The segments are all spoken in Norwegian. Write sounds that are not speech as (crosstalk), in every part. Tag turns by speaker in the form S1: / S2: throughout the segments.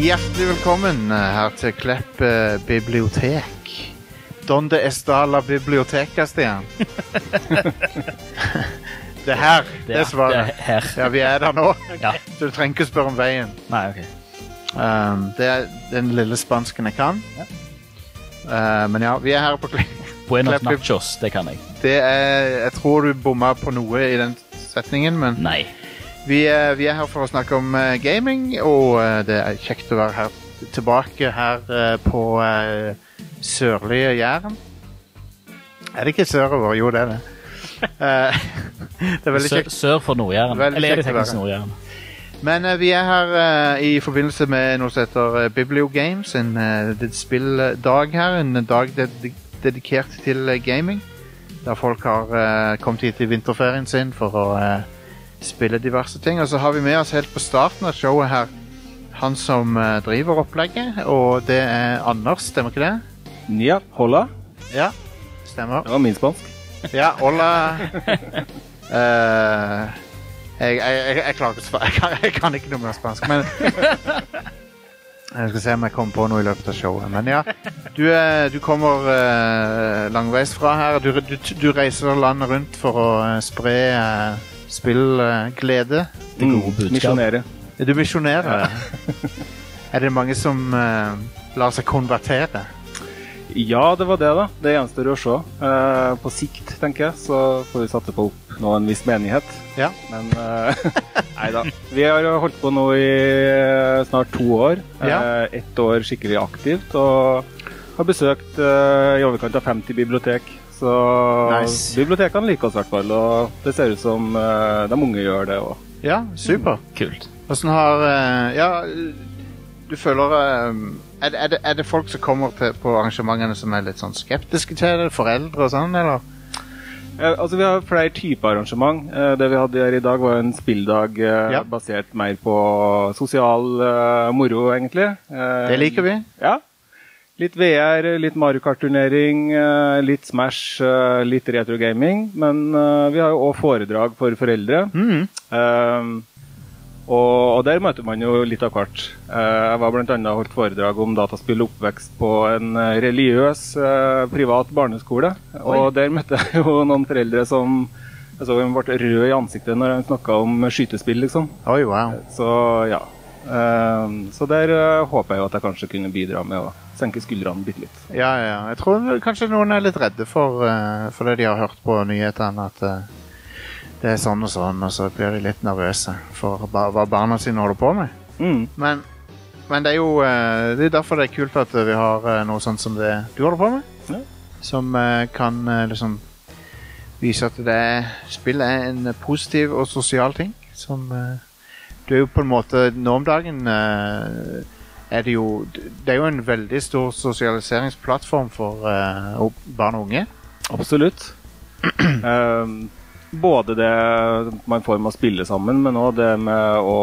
S1: Hjertelig velkommen eh, her til Klepp eh, bibliotek. Donde está la biblioteca, (laughs) Stian? det er her. Det er svaret.
S2: her.
S1: Ja, vi er der nå,
S2: Ja.
S1: så du trenger ikke spørre om veien.
S2: Nei, ok.
S1: Um, det er den lille spansken jeg kan. Uh, men ja, vi er her på Klepp.
S2: Buenos
S1: Klepp-
S2: nachos, det kan jeg.
S1: Det er, jeg tror du bomma på noe i den setningen, men
S2: Nei.
S1: Vi er, vi er her for å snakke om eh, gaming, og eh, det er kjekt å være her, tilbake her eh, på eh, sørlige Jæren. Er det ikke sørover? Jo, det er det. Eh, (laughs) det er veldig
S2: Sør,
S1: kjekt.
S2: sør for Nord-Jæren.
S1: Veldig
S2: Eller er det
S1: kjekt å være
S2: teknisk Nord-Jæren?
S1: Men eh, vi er her eh, i forbindelse med noe som heter eh, Bibliogames, en eh, det er et spilldag her. En dag ded dedikert til eh, gaming. Der folk har eh, kommet hit i vinterferien sin for å eh, spille diverse ting. Og så har vi med oss helt på starten av showet her han som eh, driver opplegget, og det er Anders, stemmer ikke det?
S3: Ja, hola.
S1: Ja, stemmer.
S3: Det var min spansk.
S1: Ja, hola. (laughs) Eh, jeg, jeg, jeg, jeg klarer ikke spa- (laughs) jeg kan, jeg kan ikke noe mer spansk, men Jeg skal se om jeg kommer på noe i løpet av showet. Men ja, du, er, du kommer eh, langveisfra her. Du, du, du reiser landet rundt for å eh, spre eh, spillglede.
S2: Det
S3: Mm,
S1: Mm,
S2: gode budskap.
S3: Misjonere.
S1: Du misjonerer. Er det mange som eh, lar seg konvertere?
S3: Ja, det var det, da. Det gjenstår å se. Eh, på sikt, tenker jeg, så får vi satse på å oppnå en viss menighet.
S1: Ja.
S3: Men eh, (laughs) nei da. Vi har jo holdt på nå i eh, snart to år. Eh,
S1: Ja.
S3: Ett år skikkelig aktivt. Og har besøkt eh, i overkant av 50 bibliotek. Så
S1: Nice.
S3: bibliotekene liker oss i hvert fall. Og det ser ut som eh, de unge gjør det òg.
S1: Ja, super.
S2: Kult.
S1: Åssen har eh, Ja, du føler eh, er, det- er, det, er det folk som kommer til, på arrangementene som er litt sånn skeptiske til det? Foreldre og sånn, eller?
S3: Eh, Altså, Vi har flere typer arrangement. Eh, Det vi hadde her i dag, var en spilldag eh,
S1: Ja.
S3: basert mer på sosial eh, moro, egentlig. Eh,
S1: Det liker vi.
S3: Ja. Litt VR, litt Mario Kart-turnering, eh, litt Smash, eh, litt retrogaming. Men eh, vi har jo òg foredrag for foreldre.
S1: Mhm.
S3: Eh, og, og der møter man jo litt av hvert. Eh, jeg var bl.a. holdt foredrag om dataspill og oppvekst på en eh, religiøs eh, privat barneskole. Og der møtte jeg jo noen foreldre som jeg så hun ble rød i ansiktet når han snakka om skytespill, liksom.
S1: Oi, wow.
S3: Så ja. Eh, så der eh, håper jeg jo at jeg kanskje kunne bidra med å senke skuldrene bitte litt.
S1: Ja, ja. Jeg tror vel kanskje noen er litt redde for, eh, for det de har hørt på nyhetene, at eh, det er sånn og sånn, og så blir de litt nervøse for ba hva barna sine holder på med.
S3: Mm.
S1: Men, men det er jo eh, Det er derfor det er kult at eh, vi har eh, noe sånt som det du holder på med.
S3: Ja.
S1: Som eh, kan eh, liksom vise at det er, spill er en positiv og sosial ting. Som eh, Du er jo på en måte Nå om dagen eh, er det jo Det er jo en veldig stor sosialiseringsplattform for eh, opp- barn og unge. (clears throat)
S3: Absolutt. Ehm, både det man får med å spille sammen, men òg det med å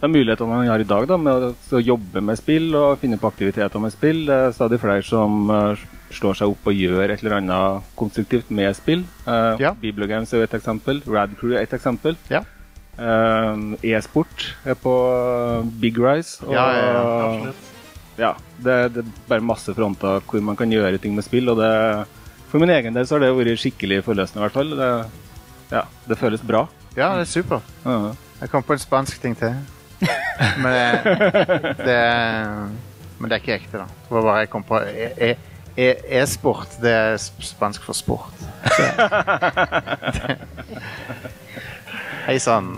S3: De mulighetene man har i dag da, med å- å jobbe med spill og finne på aktiviteter med spill. Det er stadig flere som eh, slår seg opp og gjør et eller annet konstruktivt med spill. Uh,
S1: Ja.
S3: Bibliogames er jo et eksempel. Radcrew er et eksempel.
S1: Ja.
S3: Ehm, E-sport er på eh, Big Rise. Og,
S1: Ja, eh, ja, ja, absolutt.
S3: ja, det, det er bare masse fronter hvor man kan gjøre ting med spill, og det For min egen del så har det vært skikkelig forløsende, i hvert fall. Det, ja, det føles bra.
S1: Ja, det er super.
S3: Ja.
S1: Jeg kom på en spansk ting
S2: (laughs)
S1: til. Men det, det Men det er ikke ekte, da. Det var bare jeg kom på E- e- e- E-sport. det er sp- spansk for sport.
S2: (laughs)
S1: Hei
S2: (laughs)
S1: sann.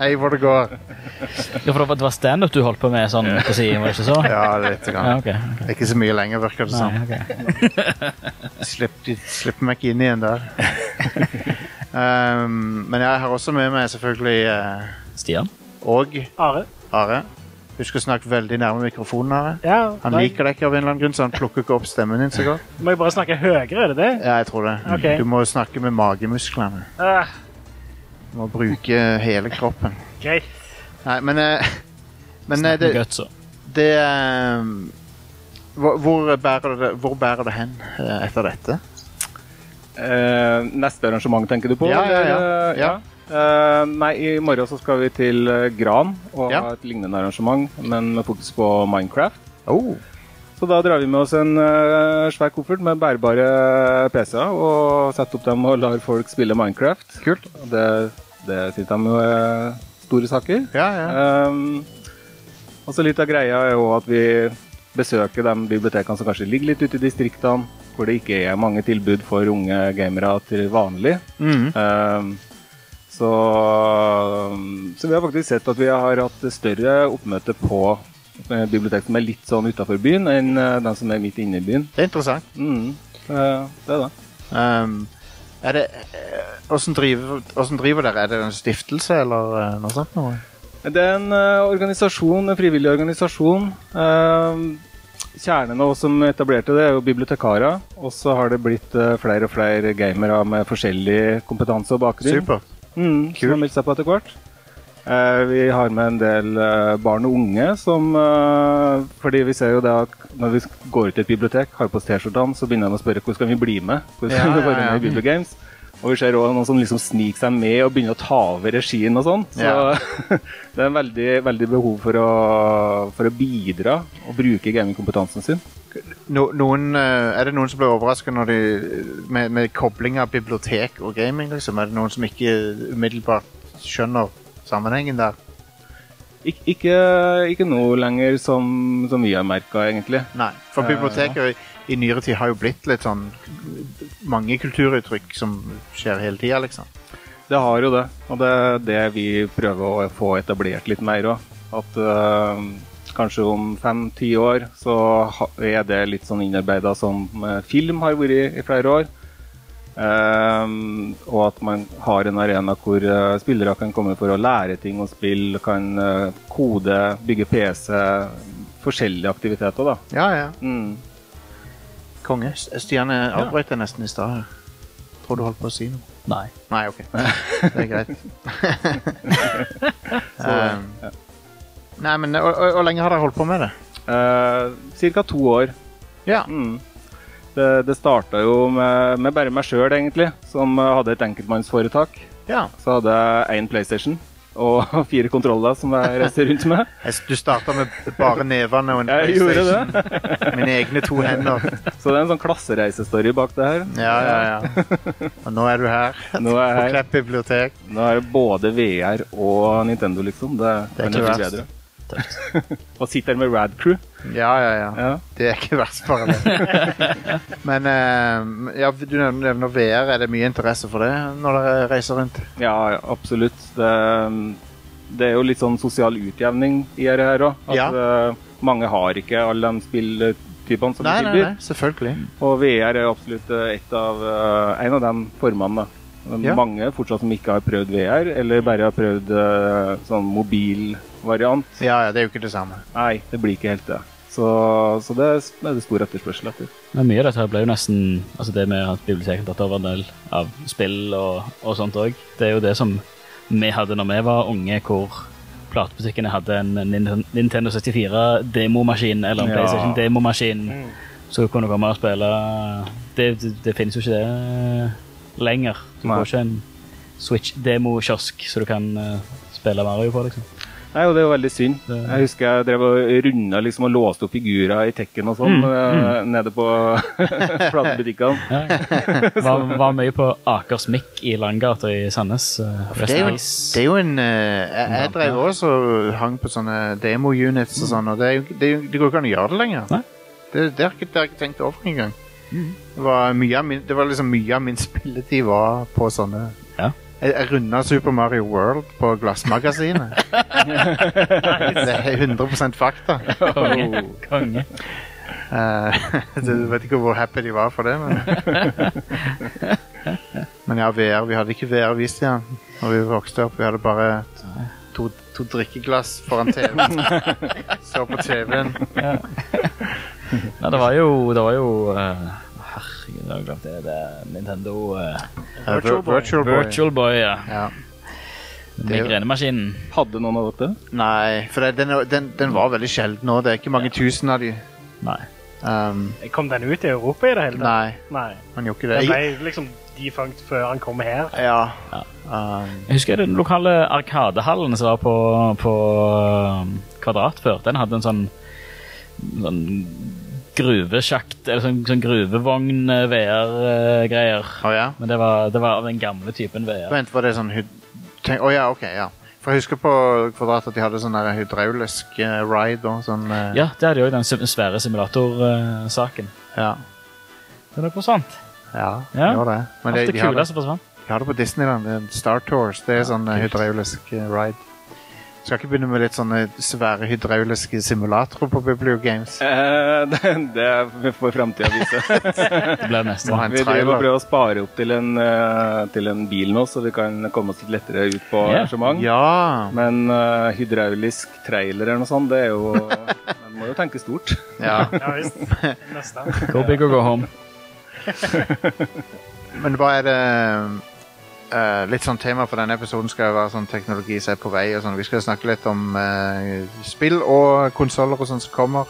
S1: Hei, hvor det går.
S2: Ja, for det var- det var standup du holdt på med sånn på siden, var det ikke så?
S1: Ja, litt.
S2: Ja,
S1: Grann.
S2: ok. ok.
S1: Ikke så mye lenger, virker det som.
S2: Nei, ok.
S1: Slipp, de slipper meg ikke inn igjen der.
S2: (laughs)
S1: Um, men jeg har også med meg selvfølgelig eh,
S2: Stian?
S1: og
S4: Are?
S1: Are. Husk å snakke veldig nærme mikrofonen, Are.
S4: Ja,
S1: Han
S4: nei,
S1: liker deg ikke av en eller annen grunn, så han plukker ikke opp stemmen din så godt.
S4: Må jeg bare snakke høyere, er det det?
S1: Ja, jeg tror det.
S4: Ok.
S1: Du må jo snakke med magemusklene.
S4: Ah,
S1: Du må bruke hele kroppen.
S4: greit.
S1: Nei, men eh, (laughs) Men eh,
S2: Snakk
S1: det,
S2: med guts og
S1: det eh, hvor, hvor, bærer det, hvor bærer det hen eh, etter dette?
S3: Eh, neste arrangement tenker du på?
S1: Ja, ja, ja.
S3: eller?
S1: Ja.
S3: Eh, nei, i morgen så skal vi til eh, Gran og
S1: Ja.
S3: ha et lignende arrangement, men med fokus på Minecraft.
S1: Oh.
S3: Så da drar vi med oss en eh, svær koffert med bærbare eh, PC-er og setter opp dem og lar folk spille Minecraft.
S1: Kult.
S3: Og Det, det syns de jo er store saker.
S1: Ja, ja.
S3: Ehm, og så litt av greia er jo at vi besøker de bibliotekene som kanskje ligger litt ute i distriktene, hvor det ikke er mange tilbud for unge gamere til vanlig.
S1: Mhm.
S3: Ehm, så, så vi har faktisk sett at vi har hatt større oppmøte på eh, bibliotek som er litt sånn utafor byen, enn eh, den som er midt inne i byen.
S1: Det er interessant.
S3: Mm, eh, det er det.
S1: Um, er det, eh, hvordan, driver, hvordan driver dere? Er det en stiftelse eller eh, noe sånt? Noe?
S3: Det er en eh, organisasjon, en frivillig organisasjon. Ehm, kjernen av oss som etablerte det, er jo bibliotekarer. Og så har det blitt eh, flere og flere gamere med forskjellig kompetanse og bakgrunn.
S1: Supert.
S3: Mm, som har meldt seg på etter hvert. Eh, vi har med en del eh, barn og unge som eh, Fordi vi ser jo det at når vi går ut i et bibliotek, har på oss T-skjortene, så begynner de å spørre hvordan kan vi bli med? Hvordan kan
S1: Ja,
S3: vi være
S1: ja, ja.
S3: med i Bibliogames? Og vi ser også noen som liksom sniker seg med og begynner å ta over regien og sånn. Så
S1: Ja.
S3: (laughs) det er en veldig, veldig behov for å, for å bidra og bruke gamingkompetansen sin.
S1: No, noen, eh, er det noen som blir overraska eh, med, med kobling av bibliotek og gaming? Liksom? Er det noen som ikke umiddelbart skjønner sammenhengen der?
S3: Ik ikke, ikke noe lenger som, som vi har merka, egentlig.
S1: Nei. For
S3: Eh,
S1: biblioteker i, i nyere tid har jo blitt litt sånn mange kulturuttrykk som skjer hele tida, liksom.
S3: Det har jo det, og det er det vi prøver å få etablert litt mer òg. At eh, kanskje om fem-ti år så ha- er det litt sånn innarbeida som eh, film har vært i, i flere år. Ehm, og at man har en arena hvor eh, spillere kan komme for å lære ting om spill, kan eh, kode, bygge PC, forskjellige aktiviteter, da.
S1: Ja, ja.
S3: Mm.
S1: Konge. S- eh, Stian avbrøt deg nesten i stad. her. Tror du holdt på å si noe.
S2: Nei.
S1: Nei, (laughs) ok. Det er (laughs) greit. (laughs) um, nei, men og, og, Hvor lenge har dere holdt på med det?
S3: Ca. Eh, to år.
S1: Ja.
S3: Mm. Det, det starta jo med, med bare meg sjøl, egentlig, som eh, hadde et enkeltmannsforetak.
S1: ja.
S3: Så hadde jeg én PlayStation og (laughs) fire kontroller som jeg reiste rundt med.
S1: Jeg s- Du starta med bare nevene og en
S3: Jeg gjorde det.
S1: (laughs) Mine egne to hender.
S3: Så det er en sånn klassereisestory bak det her.
S1: Ja, ja, ja. Og nå er du her.
S3: Nå er
S1: På
S3: jeg her.
S1: Klepp bibliotek.
S3: Nå er det både VR og Nintendo, liksom. Det,
S1: Det er
S3: kan
S1: ikke
S3: bli
S1: verst.
S3: bedre. Og sitter her med Rad Crew.
S1: Ja, ja, ja.
S3: Ja.
S1: Det er ikke verst, bare det. Men um, ja, du nevner- nevner VR. Er det mye interesse for det når dere reiser rundt?
S3: Ja, ja, absolutt. Det, det er jo litt sånn sosial utjevning i dette her òg. At
S1: Ja.
S3: eh, mange har ikke alle de spilltypene
S1: Nei,
S3: som vi
S1: nei,
S3: tilbyr.
S1: nei. Selvfølgelig.
S3: Og VR er jo absolutt eh, et av, eh, en av de formene. da. Men
S1: Ja.
S3: Mange fortsatt som ikke har prøvd VR, eller bare har prøvd eh, sånn mobilvariant.
S1: Ja, ja, det er jo ikke det samme.
S3: Nei, det blir ikke helt det. Så, så det er det er stor etterspørsel etter.
S2: Men mye av dette her ble jo nesten Altså det med at biblioteket har tatt over en del av spill og, og sånt òg. Det er jo det som vi hadde når vi var unge, hvor platebutikkene hadde en Nin- Nintendo 64-demomaskin eller en
S3: Ja.
S2: PlayStation-demomaskin.
S1: Mm.
S2: Så kunne du komme og spille Det, det, det finnes jo ikke det lenger. Du
S3: Nei.
S2: får ikke en Switch-demokiosk så du kan eh, spille Mario på, liksom.
S3: Nei, og det er jo veldig synd.
S2: Det-
S3: Jeg husker jeg drev og runda liksom, og låste opp figurer i Tekken og sånn eh, nede på (laughs) platebutikkene.
S2: Ja. (laughs) Var, var mye på Akers Mikk i Langgata i Sandnes. eh,
S1: For Det er jo, en-
S2: Vestlands.
S1: det er jo en eh, Jeg, jeg drev også og hang på sånne demo-units og sånn, og det, er jo, ikke- det, er jo- det går ikke an å gjøre det lenger.
S2: Nei. Mm.
S1: Det, det har jeg ikke, det har jeg ikke tenkt over engang. Det, var mye av min- det var liksom mye av min (laughs) spilletid var på sånne
S2: Ja.
S1: Jeg, jeg runda Super Mario World på Glassmagasinet.
S2: (laughs)
S1: Det er 100 fakta.
S2: Konge. Konge.
S1: Eh, (laughs) du vet ikke hvor happy de var for det, men Men ja, VR. Vi hadde ikke VR vist igjen Når vi vokste opp. Vi hadde bare to, to drikkeglass foran TV-en. Så på TV-en.
S2: Nei, det var jo, det var jo eh, Herregud, jeg har glemt det. Det er Nintendo eh,
S1: Eh, vir- Virtual Boy.
S2: Virtual Boy, ja.
S1: Ja.
S2: Migrenemaskinen.
S3: Hadde noen av dette?
S1: Nei, for det, den, den, den var veldig sjelden nå. Det er ikke mange tusen av de.
S2: Nei.
S1: Um,
S4: Kom den ut i Europa i det hele tatt?
S1: nei,
S4: Nei.
S1: man gjorde ikke
S4: Den
S1: det.
S4: ble
S1: Jeg,
S4: liksom defunct før han kom her.
S1: Ja.
S2: Ja.
S1: Um,
S2: Jeg husker den lokale arkadehallen som var på, på um, Kvadrat før. Den hadde en sånn, sånn gruvesjakt, eller sånn, sånn gruvevogn-VR-greier.
S1: å ja?
S2: Men det var, det var av den gamle typen VR.
S1: Vent, var det sånn hyd... Tenk, å ja, ok, ja. For jeg husker på Kvadrat at de hadde sånn der hydraulisk eh, ride og sånn. eh,
S2: Ja, det hadde jo den sim- svære simulatorsaken.
S1: ja.
S2: Det er noe sant.
S1: Ja,
S2: Ja.
S1: det var det. Men
S2: Alt altså.
S1: det,
S2: det
S1: de, har
S2: kule
S1: det,
S2: som forsvant.
S1: de har det på Disneyland. det er Star Tours. Det er sånn eh, hydraulisk eh, ride. Skal ikke begynne med litt sånne svære hydrauliske simulatorer på Biblio Games.
S3: Eh, (laughs) det, det får fremtida vise. (laughs)
S2: Det ble det
S1: Må
S2: neste.
S1: ha en
S3: Vi driver og
S1: trailer.
S3: prøver å spare opp til en, eh, til en bil nå, så vi kan komme oss litt lettere ut på
S2: Ja.
S3: arrangement. (laughs)
S1: Ja.
S3: Men eh, hydraulisk trailer eller noe sånt, det er
S1: (laughs)
S3: jo Man må jo tenke stort.
S1: ja.
S4: Ja
S1: (laughs)
S4: visst. Nesten.
S2: Go big or go home.
S1: Men hva er det eh, Litt sånn tema for denne episoden skal jo være sånn teknologi som er på vei. og sånn. Vi skal snakke litt om eh, spill og konsoller og sånn som kommer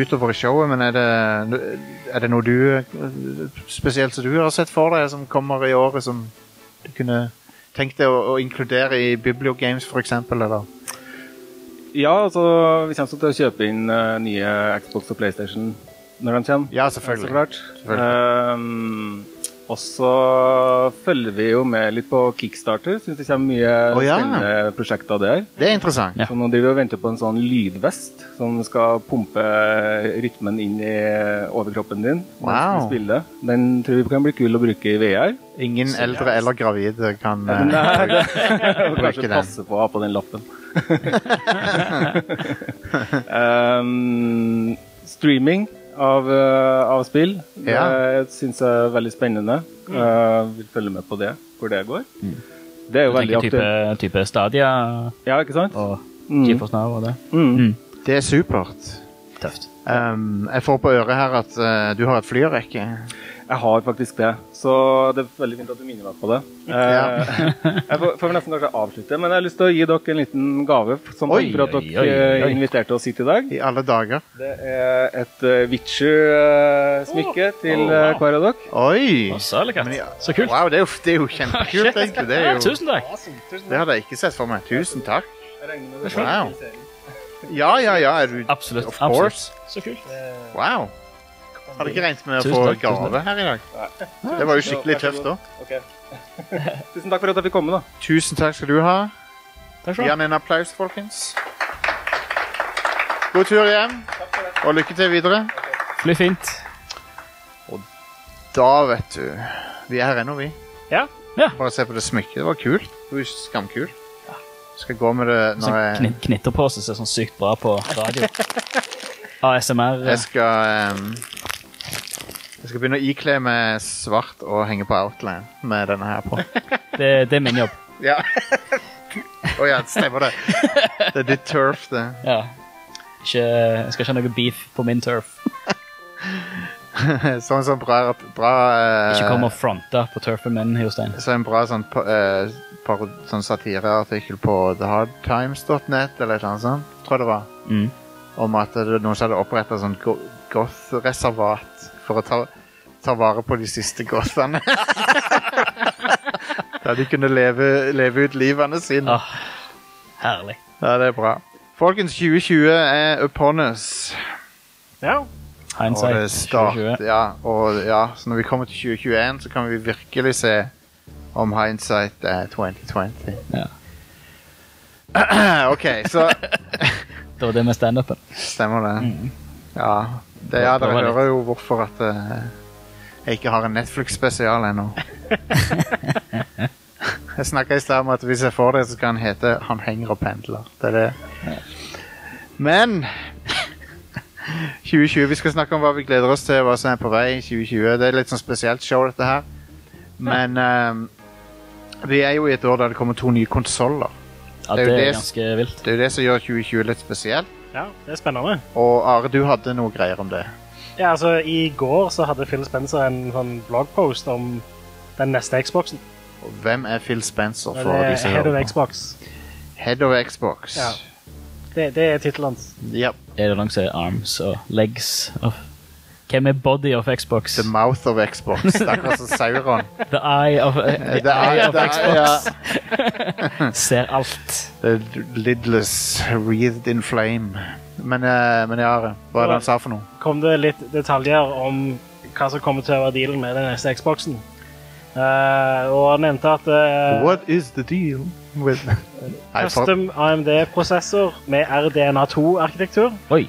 S1: utover i showet. Men er det, er det noe du eh, spesielt som du har sett for deg, som kommer i året, som du kunne tenkt deg å, å inkludere i Bibliogames f.eks.? Eller?
S3: Ja, altså, vi kommer så til å kjøpe inn eh, nye Xbox og PlayStation når de kommer.
S1: Ja, selvfølgelig.
S3: Så klart. Ehm, og så følger vi jo med litt på Kickstarter. Syns det kommer mye
S1: Å, ja.
S3: spennende prosjekter der.
S1: Det er interessant.
S2: Ja.
S3: Så nå driver vi og venter på en sånn lydvest som skal pumpe rytmen inn i overkroppen din. mens
S1: Wow.
S3: du spiller. Den tror vi kan bli kul å bruke i VR.
S1: Ingen eldre eller gravide kan eh,
S3: (laughs) Og
S1: Bruke
S3: kanskje
S1: den.
S3: passe på å ha på den lappen. um, streaming av, eh, av spill det
S1: Ja.
S3: syns jeg er veldig spennende. Eh, vil følge med på det, hvor det går. Det er jo
S2: Jeg
S3: veldig
S2: tenker type,
S3: aktuelt.
S2: type Stadia
S3: Ja, ikke sant?
S2: og
S3: Mm.
S2: GeForce Now og det.
S3: Mm.
S1: Det er supert.
S2: Tøft.
S1: Um, jeg får på øret her at eh, du har et flyrekke.
S3: Jeg har faktisk det, så det er veldig fint at du minner meg på det.
S1: Ja.
S3: Eh, jeg får, får nesten kanskje avslutte, men jeg har lyst til å gi dere en liten gave som
S1: Oi,
S3: takk for at
S2: oi, oi,
S3: dere eh,
S2: oi.
S3: inviterte oss hit i dag.
S1: I alle dager.
S3: Det er et eh, Witcher-smykke
S2: Å,
S3: til eh,
S2: wow.
S3: hver av dere.
S1: Oi!
S2: Masse, eller
S1: Men ja.
S2: katt? Så kult. Ah,
S1: Wow, det er jo, det er jo kjempekult, egentlig. Det, er jo,
S2: Tusen takk.
S4: Awesome. Tusen
S1: det
S4: takk.
S1: hadde jeg ikke sett for meg. Tusen takk.
S3: Jeg regner med det.
S1: Wow. Ja, ja, ja. Er du,
S2: Absolutt.
S1: Of
S2: absolutt.
S1: course.
S2: Så kult.
S1: Wow. Hadde ikke regnet med å
S2: Tusen
S1: få
S2: takk, tusen
S1: gave her i dag. Det var jo skikkelig tøft da.
S3: Ok. (laughs) Tusen takk for at jeg fikk komme, da.
S1: Tusen takk skal du ha. Gi
S2: Takk skal du ha.
S1: han en applaus, folkens. God tur hjem, og lykke til videre.
S2: Fly fint.
S1: Da, vet du Vi er her ennå, vi.
S4: Ja.
S2: Ja.
S1: Bare se på det smykket. Det var kult. Det var jo skamkult. Skal gå med det når
S2: Sånn
S1: jeg
S2: kni- knitterpose som er sånn sykt bra på
S1: (laughs)
S2: radio. ASMR.
S1: Jeg skal ehm, Jeg skal begynne å ikle meg svart og henge på Outland med denne her på.
S2: Det, det er min jobb.
S1: Ja. Å ja, stemmer det. Det er ditt turf, det.
S2: Ja. Ikke, jeg skal ikke ha noe beef på min turf.
S1: Sånn som bra, bra eh,
S2: Ikke kom og fronte på turfen min, Jostein.
S1: Så en bra sånn, pa- eh, par- sånn satireartikkel på thehardtimes.net eller et eller annet sånt, tror jeg det var.
S2: Mm.
S1: Om at det var noen som hadde oppretta sånn go- goth-reservat for å ta, ta vare på de siste gothene. Der de kunne leve, leve ut livene sine.
S2: Åh, herlig.
S1: Ja, det er bra. Folkens, 2020 er upon us.
S4: Ja.
S1: Og det
S2: Hindsight
S1: start,
S2: 2020.
S1: ja, og ja, så når vi kommer til 2021, så kan vi virkelig se om hindsight er 2020. (clears throat) OK, så
S2: Det var det med standupen.
S1: Stemmer det. Ja, det, ja dere hører jo hvorfor at eh, jeg ikke har en Netflix-spesial ennå. jeg snakka i stad om at hvis jeg får det, så skal han hete 'Han henger og pendler'. Det er det. Men (laughs) 2020, Vi skal snakke om hva vi gleder oss til, hva som er på vei i 2020. Det er litt sånn spesielt show, dette her. Men eh, vi er jo i et år der det kommer to nye konsoller.
S2: Ja,
S1: Det er jo
S2: det er
S1: det-
S2: ganske vilt.
S1: Det er jo det som gjør 2020 litt spesielt.
S4: ja. Det er spennende.
S1: Og Are, du hadde noe greier om det.
S4: Ja, altså, I går så hadde Phil Spencer en sånn bloggpost om den neste Xboxen.
S1: Og Hvem er Phil Spencer
S4: Og
S1: for
S4: det
S1: de
S4: er
S1: som
S4: Head of
S1: hører på?
S4: Xbox.
S1: Head of Xbox.
S4: Ja. Det, det er tittelen hans.
S1: Japp.
S2: Er det noen som er arms og legs of Hvem er body of Xbox?
S1: The mouth of
S4: (laughs)
S1: Xbox. Det er akkurat som Sauron.
S2: The eye of, the
S1: Det er,
S2: eye of
S1: det er, ja.
S2: (laughs) Ser alt.
S1: The Lidless wreathed in flame. Men, eh, men ja, hva er det han sa for noe?
S4: kom det litt detaljer om hva som kommer til å være dealen med den neste Xboxen. Eh, og han nevnte at eh,
S1: What is the deal with (laughs) Nei, for,
S4: custom AMD-prosessor med RDNA2-arkitektur,
S2: Oi.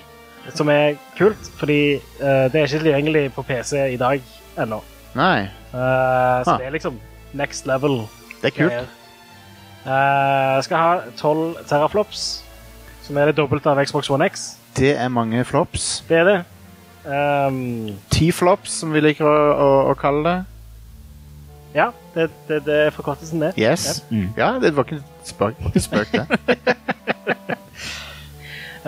S4: som er kult, fordi eh, det er ikke tilgjengelig på PC i dag ennå.
S1: nei,
S4: Eh, så
S1: Ah.
S4: det er liksom next level.
S1: det er kult.
S4: Eh, skal ha 12 teraflops, som er det dobbelte av Xbox One X.
S1: Det er mange flops.
S4: Det er det. Ehm,
S1: Ti flops, som vi liker å, å, å kalle det.
S4: ja, det, det, det er forkortelsen, det.
S1: Yes.
S2: Mm.
S1: Ja, det var ikke en spøk, det var ikke en spøk
S4: (laughs)
S1: det.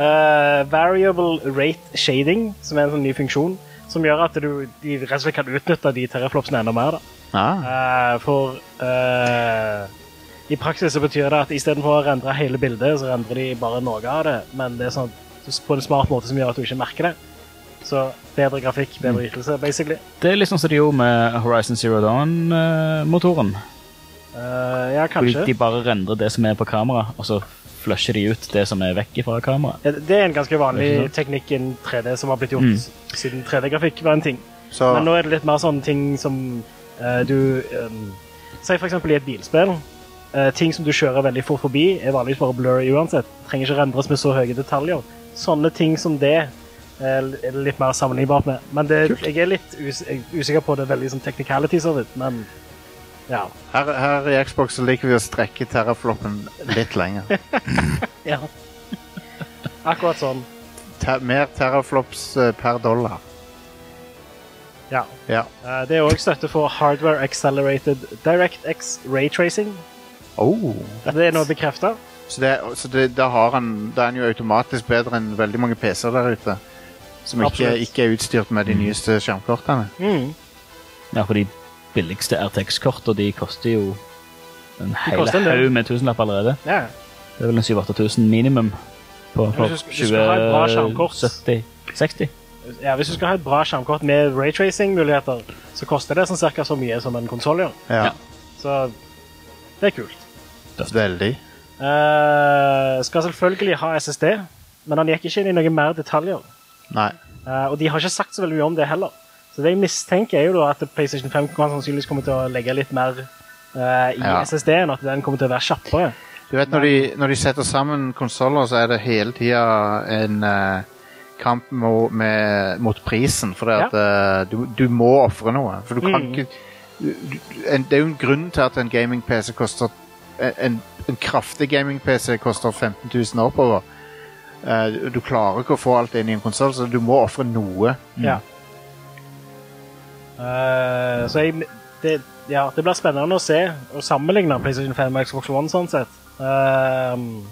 S4: Eh, variable rate shading, som er en sånn ny funksjon, som gjør at du de rett og slett kan utnytte de terraflopsene enda mer. Da.
S1: Ja.
S4: Eh, for eh, i praksis så betyr det at istedenfor å rendre hele bildet, så rendrer de bare noe av det, men det er sånn på en smart måte som gjør at du ikke merker det. Så bedre grafikk, bedre
S2: Mm.
S4: ytelse, basically.
S2: Det er litt sånn som de gjorde med Horizon Zero Dawn-motoren.
S4: Eh, ja, kanskje.
S2: de bare rendrer det som er på kamera, og så flusher de ut det som er vekk fra kamera.
S4: Ja, Det er en ganske
S2: Ikke
S4: vanlig
S2: sant? Mm.
S4: teknikk innen 3D som har blitt gjort siden 3D-grafikk var en ting.
S1: Så
S4: Men nå er det litt mer sånne ting som eh, du um, Si for eksempel i et bilspill. eh, ting som du kjører veldig fort forbi, er vanligvis bare blurry uansett. Trenger ikke rendres med så høye detaljer. Sånne ting som det eh, er det litt mer sammenlignbart med. Men det, jeg er litt us jeg er usikker på det veldig sånn technicalities av det, men ja.
S1: her, her i Xbox så liker vi å strekke terrafloppen litt lenger.
S4: ja. (laughs) Akkurat sånn.
S1: Ter, mer terraflops eh, per dollar.
S4: Ja.
S1: Ja.
S4: Eh, det er òg støtte for Hardware Accelerated DirectX Raytracing.
S1: Oh.
S4: Det er nå bekrefta.
S1: Så, det, så det, da, har han, da er han jo automatisk bedre enn veldig mange PC-er der ute. Som ikke,
S4: Absolutt.
S1: ikke er utstyrt med de nyeste skjermkortene.
S4: Mm.
S2: Ja, for de billigste RTX-kortene, de koster jo en hel
S4: koster en del.
S2: haug med tusenlapp allerede.
S4: Ja.
S2: Det er vel en 7000-8000 minimum på, på
S4: Men hvis du sk- hvis du skal ha et bra skjermkort-
S2: 70 60.
S4: ja, hvis du skal ha et bra skjermkort med raytracing-muligheter, så koster det sånn cirka så mye som en konsoll gjør.
S1: Ja.
S2: Ja.
S4: Så det er kult.
S1: Veldig.
S4: Eh, skal selvfølgelig ha SSD, men han gikk ikke inn i noen mer detaljer.
S1: Nei.
S4: Eh, og de har ikke sagt så veldig mye om det heller. Så det jeg mistenker, er jo da at PlayStation 5 kan sannsynligvis kommer til å legge litt mer eh, i
S1: Ja.
S4: SSD-en, at den kommer til å være kjappere.
S1: Du vet, når de, når de setter sammen konsoller, så er det hele tida en eh, kamp mo, med, mot prisen. For at, eh, du, du må ofre noe. For du kan
S4: Mm.
S1: ikke du, du- en, Det er jo en grunn til at en gaming-PC koster En, en kraftig gaming-PC koster 15 000 oppover. Eh, du- du klarer ikke å få alt inn i en konsoll, så du må ofre noe.
S4: Mm. Ja. Eh, så jeg, det, ja, det blir spennende å se og sammenligne PlayStation 5 og Xbox One sånn sett. Ehm,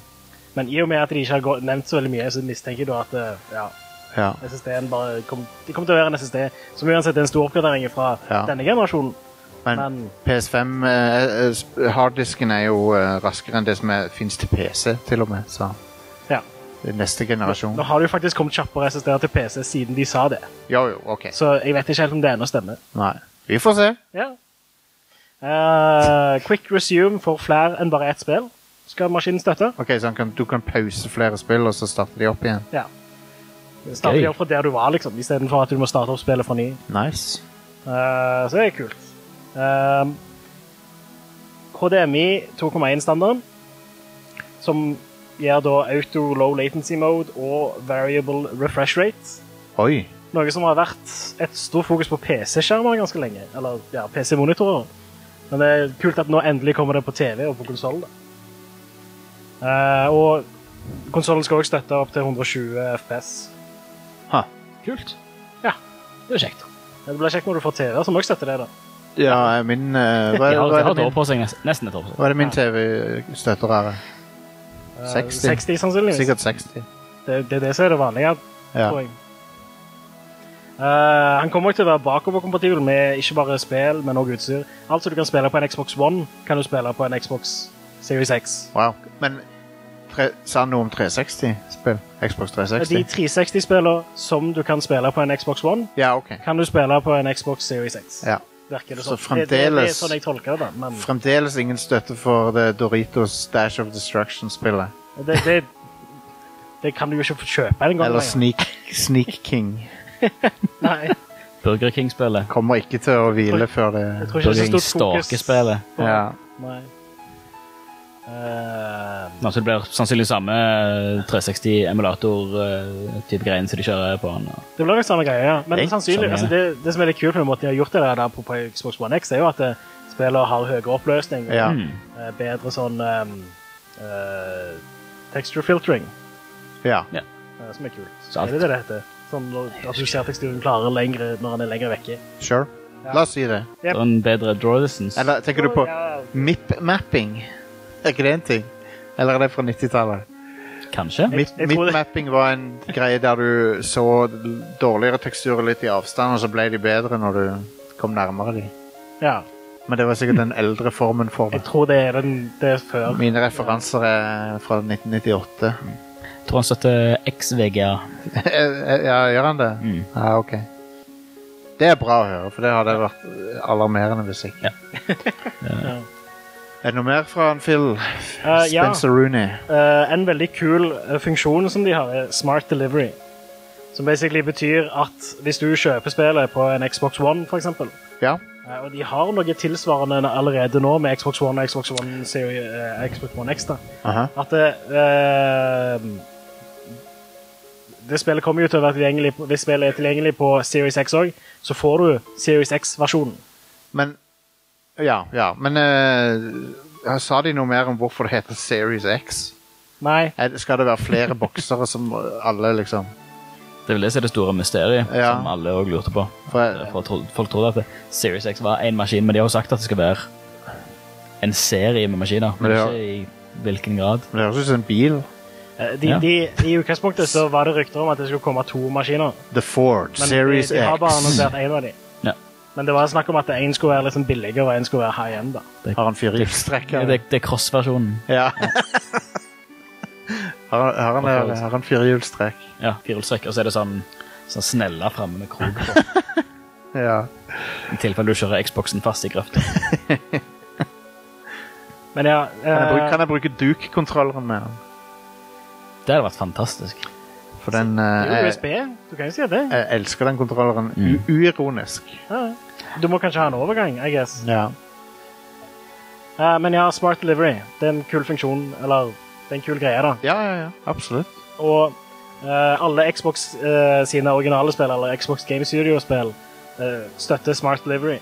S4: men i og med at de ikke har gå- nevnt så veldig mye, så mistenker jeg da at eh, ja,
S1: Ja.
S4: SSD-en bare kom, Det kommer til å være en SSD som uansett er en stor oppgradering fra
S1: Ja.
S4: denne generasjonen.
S1: Men,
S4: Men
S1: PS5 eh, eh, sp- Harddisken er jo eh, raskere enn det som er- finnes til PC, til og med. Så
S4: ja.
S1: det er neste generasjon.
S4: nå har det jo faktisk kommet kjappere SSD-er til PC siden de sa det,
S1: Jo, jo, OK.
S4: så jeg vet ikke helt om det ennå stemmer.
S1: Nei. Vi får se.
S4: Ja. Eh, quick resume for flere enn bare ett spill skal maskinen støtte.
S1: Ok, så han kan, Du kan pause flere spill, og så starter de opp igjen.
S4: Ja. Starte
S2: Gøy.
S4: opp fra der du var, liksom, istedenfor at du må starte opp spillet fra ny.
S1: Nice.
S4: Eh, så det er kult. Ehm, HDMI 2,1-standarden, som gir da auto low latency mode og variable refresh rate.
S1: Oi.
S4: Noe som har vært et stort fokus på PC-skjermer ganske lenge. Eller ja, PC-monitorer. Men det er kult at nå endelig kommer det på TV og på konsollen. Uh, og konsollen skal også støtte opp til 120 FPS.
S1: Ha.
S2: Kult.
S4: Ja.
S2: Det er kjekt.
S4: Ja, Det blir kjekt når du får TV som også støtter det. da.
S1: Ja, min eh, hva,
S2: De
S1: er,
S2: har,
S1: hva,
S2: de
S1: er
S2: har
S1: det
S2: et år
S1: min,
S2: på seg, nes- nesten et år på seg.
S1: hva er det min TV støtter her? 60.
S4: 60 Eh, sannsynligvis.
S1: Sikkert 60.
S4: Det, det er det som er det vanlige,
S1: Ja.
S4: tror jeg. Eh, han kommer også til å være bakoverkompatibel med ikke bare spill, men også utstyr. Alt som du kan spille på en Xbox One, kan du spille på en Xbox Series X.
S1: Wow. Men tre, sa han noe om 360-spill? Xbox
S4: De
S1: 360?
S4: 360-spillene som du kan spille på en Xbox One,
S1: Ja, ok.
S4: kan du spille på en Xbox Series X.
S1: Ja.
S4: Virker det
S1: Så
S4: sånn. Det, det, det er
S1: fremdeles-
S4: sånn jeg tolker det, da. Men
S1: Fremdeles ingen støtte for det Doritos Dash of Destruction-spillet.
S4: det, det, det kan du jo ikke få kjøpe engang.
S1: Eller
S4: lenger.
S1: Sneak, Sneak King.
S4: Nei,
S2: Burger King-spillet.
S1: Kommer ikke til å hvile før det
S4: jeg tror ikke det
S2: Burger
S4: er så stort fokus.
S2: King-stakespillet.
S4: på-
S1: Ja.
S4: Nei. Eh,
S2: Altså, det blir sannsynlig samme eh, 360-emulator-type eh, greien som de kjører på den.
S4: det blir nok samme greie, ja. Men
S2: Det er
S4: det, sannsynlig,
S2: samme
S4: altså, det, det som er litt kult med måten de har gjort det der på, på Xbox One X, er jo at eh, spillene har høyere oppløsning og
S1: Ja.
S2: Mm.
S4: eh, bedre sånn eh, eh, texture filtering,
S1: ja.
S4: eh, som er kult.
S2: Så alt-
S4: Er det det det heter? Sånn når- at du ser teksturen klarer lengre når den er lenger vekke.
S1: Sure.
S4: Ja.
S1: La oss si det.
S2: Det er en bedre draw distance.
S1: Eller tenker du på
S4: Ja,
S1: MIP-mapping? Er ikke det en ting? Eller er det fra 90-tallet?
S2: Kanskje.
S4: Jeg- jeg tror det-
S1: Mip-mapping var en greie der du så dårligere teksturer litt i avstand, og så ble de bedre når du kom nærmere dem.
S4: ja.
S1: Men det var sikkert den eldre formen for
S4: Jeg
S1: det.
S4: tror det er den det er før.
S1: Mine referanser er fra 1998.
S2: Jeg tror han støtter XVGA.
S1: (laughs) ja, gjør han det?
S2: Mm.
S1: Ja, ok. Det er bra å høre, for det hadde vært alarmerende hvis ikke.
S2: Ja.
S1: (laughs) Er det noe mer fra han Phil?
S4: Eh, ja.
S1: Spencer Rooney.
S4: Eh, en veldig kul eh, funksjon som de har, er smart delivery. Som basically betyr at hvis du kjøper spillet på en Xbox One, f.eks. Uh,
S1: Ja.
S4: og de har noe tilsvarende allerede nå med Xbox One og Xbox One, Series, eh, Xbox One X. da.
S1: Aha.
S4: At det eh, Det spillet kommer jo til å være tilgjengelig på- Hvis spillet er tilgjengelig på Series X òg, så får du Series X-versjonen.
S1: Men Ja, ja. Men eh, sa de noe mer om hvorfor det heter Series X?
S4: Nei.
S1: Er det- Skal det være
S4: (laughs)
S1: flere boksere som alle, liksom?
S2: Det er vel det som er det store mysteriet,
S1: Ja.
S2: som alle også lurte på.
S1: For jeg,
S2: Folk trodde, folk trodde at det- Series X var én maskin, men de har jo sagt at det skal være en serie med maskiner.
S1: Men
S2: Men
S1: det har-
S2: ikke i hvilken grad.
S1: det høres ut som en bil.
S4: Eh, De,
S2: Ja.
S4: de, I utgangspunktet så var det rykter om at det skulle komme to maskiner.
S1: The Ford
S4: Men eh,
S1: Series
S4: de, de har
S1: X.
S4: bare annonsert én av dem.
S2: Ja.
S4: Men det var snakk om at én skulle være liksom billigere og én skulle være high end. da.
S1: Har han
S2: Ja,
S1: firehjulstrekker?
S2: det, det er cross-versjonen.
S1: Ja. (laughs) har, har han,
S2: Hvorfor?
S1: har han firehjulstrekk?
S2: Ja, firehjulstrekk. Og så er det sånn, sånn snella framme med krok på,
S1: Ja.
S2: i tilfelle du kjører Xboxen fast i grøfta.
S4: Men ja,
S1: Kan jeg bruke,
S4: eh,
S1: kan jeg bruke Duke-kontrolleren med han?
S2: Det hadde vært fantastisk.
S1: For den
S4: det
S1: eh,
S4: er jo
S1: jeg,
S4: USB. Du kan jo si det.
S1: jeg elsker den kontrolleren. U uironisk.
S4: Ja. Du må kanskje ha en overgang, I guess.
S1: Ja.
S4: Eh, men ja, smart delivery. Det er en kul funksjon, eller det er en kul greie, da.
S1: ja, ja, ja. Absolutt.
S4: Og eh, alle Xbox eh, sine originale spill, eller Xbox Game Studio-spill, eh, støtter smart delivery.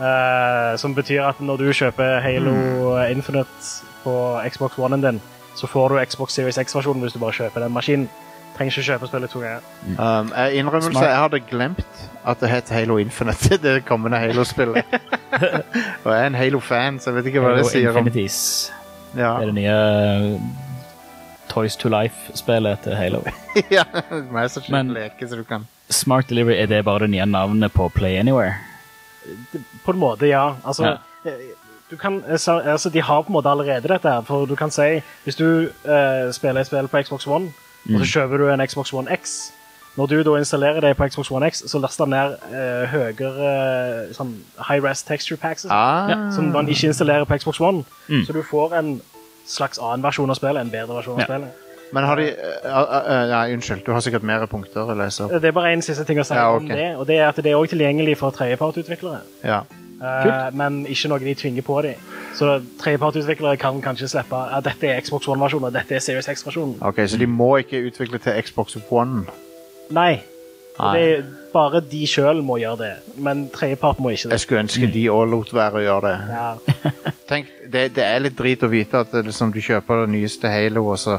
S4: Eh, som betyr at når du kjøper Halo Infinite på Xbox One-en din, så får du Xbox Series X-versjonen hvis du bare kjøper den maskinen. Trenger ikke kjøpe spillet to ganger.
S1: Um, eh, innrømmelse,
S2: Smart.
S1: jeg hadde glemt at det het Halo Infinite, (laughs) det kommende
S2: (laughs)
S1: Halo-spillet. Og jeg er en Halo-fan, så jeg vet ikke hva det
S2: Og
S1: sier om
S2: Infinities.
S1: ja.
S2: Det er det nye eh, Toys to Life-spillet til Halo.
S1: (laughs) ja, meg som
S2: Men-
S1: slipper leke, så du kan
S2: Smart Delivery, er det bare det nye navnet på Play Anywhere?
S4: På en måte, ja. Altså,
S2: Ja.
S4: eh, Du kan, eh, sa- altså, de har på en måte allerede dette her, for du kan si Hvis du eh, spiller et spill på Xbox One, og så kjøper du en Xbox One X Når du da installerer det på Xbox One X, så laster den ned eh, høyere eh, sånn high-rest texture packs, og sånt,
S1: ah,
S2: Ja,
S4: som man ikke installerer på Xbox One.
S2: Mm.
S4: Så du får en slags annen versjon av spillet, en bedre versjon av
S2: Ja.
S4: spillet.
S1: Men har de eh, eh, eh, Nei, unnskyld. Du har sikkert mer punkter å lese opp.
S4: Det er bare en siste ting å si
S1: Ja, ok.
S4: om det, og det er at det er også tilgjengelig for tredjepartutviklere.
S1: Ja.
S4: Eh, men ikke noe de tvinger på dem. Så tredjepartutviklere kan kanskje slippe at dette er Xbox One-versjonen og dette er Series X-versjonen.
S1: Ok, Så de må ikke utvikle til Xbox One?
S4: Nei.
S1: Nei.
S4: Det er bare de sjøl må gjøre det, men tredjepart må ikke det.
S1: Jeg skulle ønske de òg lot være å gjøre det.
S4: Ja.
S1: tenk, det, det er litt drit å vite at det, liksom, du kjøper det nyeste Halo, og så,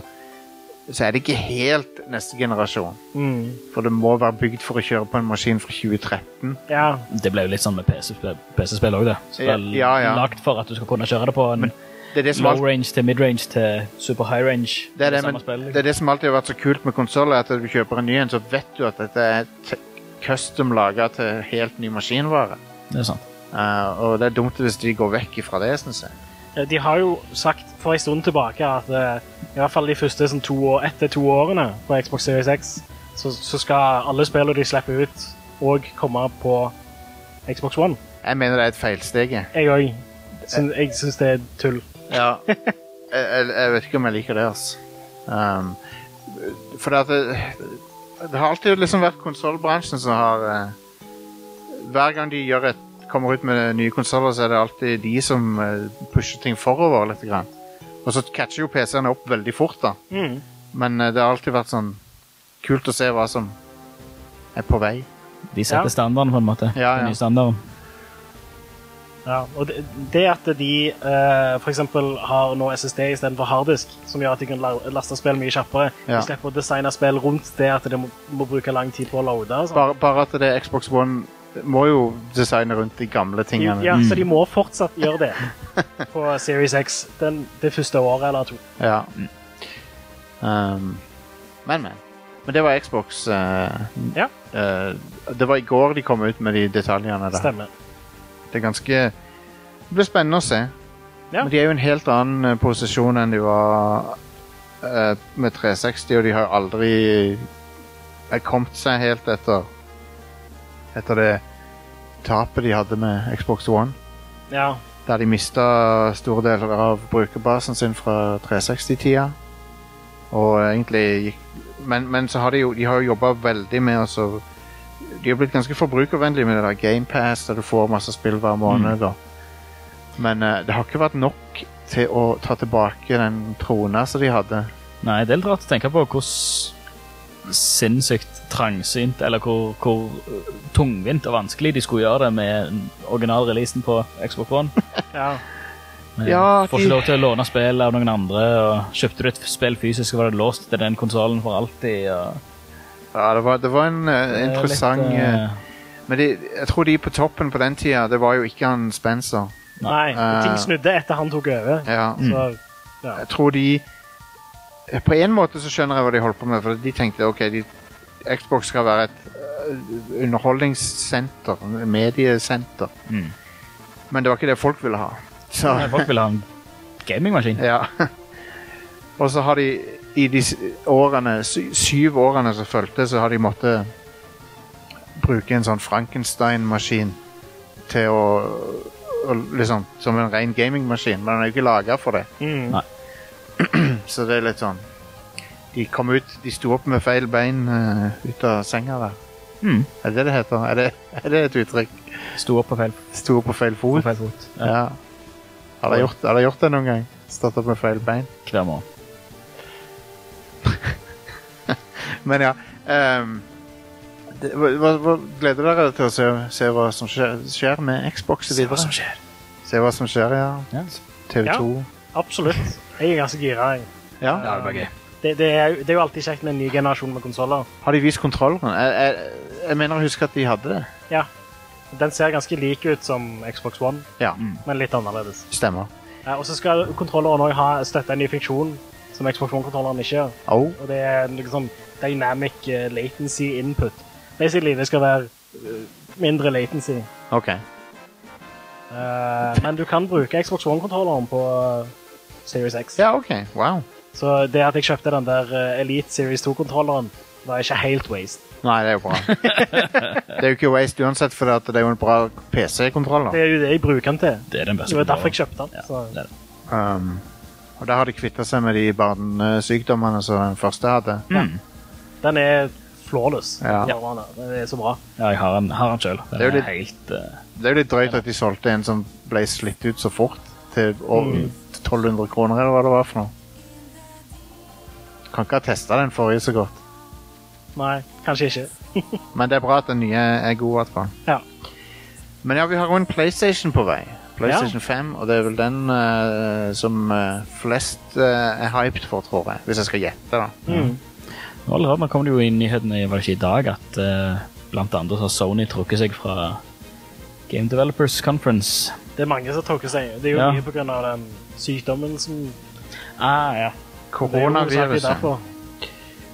S1: så er det ikke helt neste generasjon.
S4: Mm.
S1: For det må være bygd for å kjøre på en maskin fra 2013.
S4: ja.
S2: Det ble jo litt sånn med PC-spill PC òg, det. Spill
S1: Ja, ja.
S2: lagt for at du skal kunne kjøre det på en
S1: Det er det som,
S2: low
S1: alt,
S2: range til mid range til super high range.
S1: det er det,
S2: samme
S1: men,
S2: spill, liksom.
S1: det er det som alltid har vært så kult med konsoller, at du kjøper en ny en, så vet du at dette er t- custom laga til helt ny maskinvare.
S2: liksom. det er sant.
S1: Eh, og det er dumt hvis de går vekk ifra det, syns jeg.
S4: eh, de har jo sagt for en stund tilbake at eh, i hvert fall de første sånn, to år, etter to årene på Xbox Series X, så, så skal alle spillene de slipper ut, òg komme på Xbox One.
S1: Jeg mener det er et feilsteg. jeg.
S4: Jeg òg. Jeg syns det er tull.
S1: Ja. jeg, jeg, jeg vet ikke om jeg liker det, altså. Um, for at det, det har alltid liksom vært konsollbransjen som har eh, Hver gang de gjør et, kommer ut med nye konsoller, så er det alltid de som eh, pusher ting forover litt. Grann. Og så catcher jo PC-ene opp veldig fort, da.
S4: Mm.
S1: Men eh, det har alltid vært sånn kult å se hva som er på vei.
S2: De setter
S4: Ja.
S2: standarden, på en måte.
S1: Ja,
S2: Den
S1: ja.
S2: nye standarden.
S4: Ja, og det, det at de eh, for eksempel har nå SSD istedenfor harddisk, som gjør at de kan la- laste spill mye kjappere
S1: Ja.
S4: De slipper å designe spill rundt det at de må, må bruke lang tid på å loade. og sånn.
S1: Bare, bare at det er Xbox One må jo designe rundt de gamle tingene.
S4: Ja, så
S1: Mm.
S4: de må fortsatt gjøre det på Series X den, det første året eller to.
S1: Ja. Um, men, men. Men det var Xbox. eh,
S4: Ja.
S1: eh, det var i går de kom ut med de detaljene der.
S4: Stemmer.
S1: Det er ganske Det blir spennende å se.
S4: Ja.
S1: Men de er jo i en helt annen eh, posisjon enn de var eh, med 360, og de har aldri eh, kommet seg helt etter Etter det tapet de hadde med Xbox One.
S4: Ja.
S1: Der de mista store deler av brukerbasen sin fra 360-tida. Og egentlig gikk Men, men så har de jo de har jo jobba veldig med å så- De har blitt ganske forbrukervennlige med det der GamePass, der du får masse spill hver måned.
S2: Mm.
S1: da. Men eh, det har ikke vært nok til å ta tilbake den trona som de hadde.
S2: Nei, det er litt rart å tenke på hvordan sinnssykt trangsynt, eller hvor, hvor øh, tungvint og vanskelig de skulle gjøre det med originalreleasen på Xbox One.
S4: ja.
S2: Men
S1: Ja,
S2: Får
S1: de-
S2: ikke lov til å låne spill av noen andre, og kjøpte du et spill fysisk, var det låst til den konsollen for alltid. Og...
S1: Ja, Det var, det var en eh,
S2: Det er
S1: interessant
S2: litt,
S1: eh,
S2: eh,
S1: Men de, jeg tror de på toppen på den tida, det var jo ikke han Spencer.
S4: Nei, ting
S1: Eh.
S4: snudde etter han tok over.
S1: Ja.
S4: Så, ja.
S1: jeg tror de eh, På en måte så skjønner jeg hva de holdt på med, for de tenkte ok, de, Xbox skal være et øh, underholdningssenter, en mediesenter.
S2: Mm.
S1: Men det var ikke det folk ville ha. Så,
S2: Nei, Folk vil ha en gamingmaskin.
S1: (laughs) ja. Og så har de i de s- årene, sy syv årene som fulgte, så har de måttet bruke en sånn Frankenstein-maskin til å, å liksom, Som en ren gamingmaskin, men den er jo ikke laga for det.
S4: Mm.
S1: Så det er litt sånn De kom ut, de sto opp med feil bein eh, ut av senga der.
S2: Mm.
S1: Er det det det heter? Er det, er det et uttrykk?
S2: Sto opp på feil,
S1: Sto opp på feil
S2: på
S1: fot?
S2: feil fot ja.
S1: Ja. Har dere gjort, har dere gjort det noen gang? Stått opp med feil bein?
S2: hver morgen.
S1: Men ja ehm, det, hva, hva, hva gleder dere dere til å se, se hva som skjer, skjer med Xbox videre?
S2: skjer.
S1: Se hva som skjer, ja.
S2: Ja.
S1: TV2.
S4: Absolutt. Jeg er ganske gira. jeg.
S1: Ja.
S2: Ja, det var gøy.
S4: Det, det, er, jo- det er jo alltid kjekt med en ny generasjon med konsoller.
S1: Har de vist kontrolleren? Jeg, jeg, jeg mener å huske at de hadde det.
S4: Ja. Den ser ganske lik ut som Xbox One,
S1: Ja,
S2: Mm.
S4: men litt annerledes.
S1: stemmer.
S4: Ja, og så skal kontrolleren også ha støtte en ny funksjon som Xbox One-kontrolleren ikke gjør.
S1: Oh.
S4: Og det er en liksom dynamic eh, latency input. Basically, det skal være eh, mindre latency.
S1: OK.
S4: Eh, men du kan bruke Xbox One-kontrolleren på eh, Series X.
S1: Ja, OK. Wow.
S4: Så det at jeg kjøpte den der eh, Elite Series 2-kontrolleren, var ikke helt waste.
S1: Nei, det er jo bra. det er jo ikke waste uansett, for det er jo en bra PC-kontroll. da.
S4: Det er jo det jeg bruker den til.
S2: Det er den beste.
S4: Det var derfor jeg
S2: kontrollen.
S4: kjøpte den.
S2: Ja,
S4: Så.
S2: det er det.
S1: Um, og der har de kvitta seg med de barnesykdommene som den første hadde.
S4: Den er flawless.
S1: Ja.
S4: Kontrolleren der. Den er så bra.
S2: Ja, jeg har den, har den selv. Den
S1: Det er
S2: er,
S1: jo litt-
S2: helt eh,
S1: Det er jo litt drøyt at de solgte en som ble slitt ut så fort, til over 1200 kroner, eller hva det var for noe. Kan ikke ha testa den forrige så godt.
S4: Nei, kanskje ikke.
S1: Men det er bra at den nye er god, i hvert fall.
S4: Ja.
S1: Men ja, vi har jo en PlayStation på vei. PlayStation 5, og det er vel den eh, som eh, flest eh, er hyped for, tror jeg. Hvis jeg skal gjette, da.
S4: Mm.
S2: Og Allerede nå kom det jo i nyhetene var det ikke i dag at eh, blant andre så har Sony trukket seg fra Game Developers Conference.
S4: Det er mange som tolker seg. Det er jo
S2: Ja.
S4: mye på grunn av den sykdommen som
S2: Ah, ja.
S4: Det er jo hovedsakelig
S1: Koronaviruset.
S4: derfor.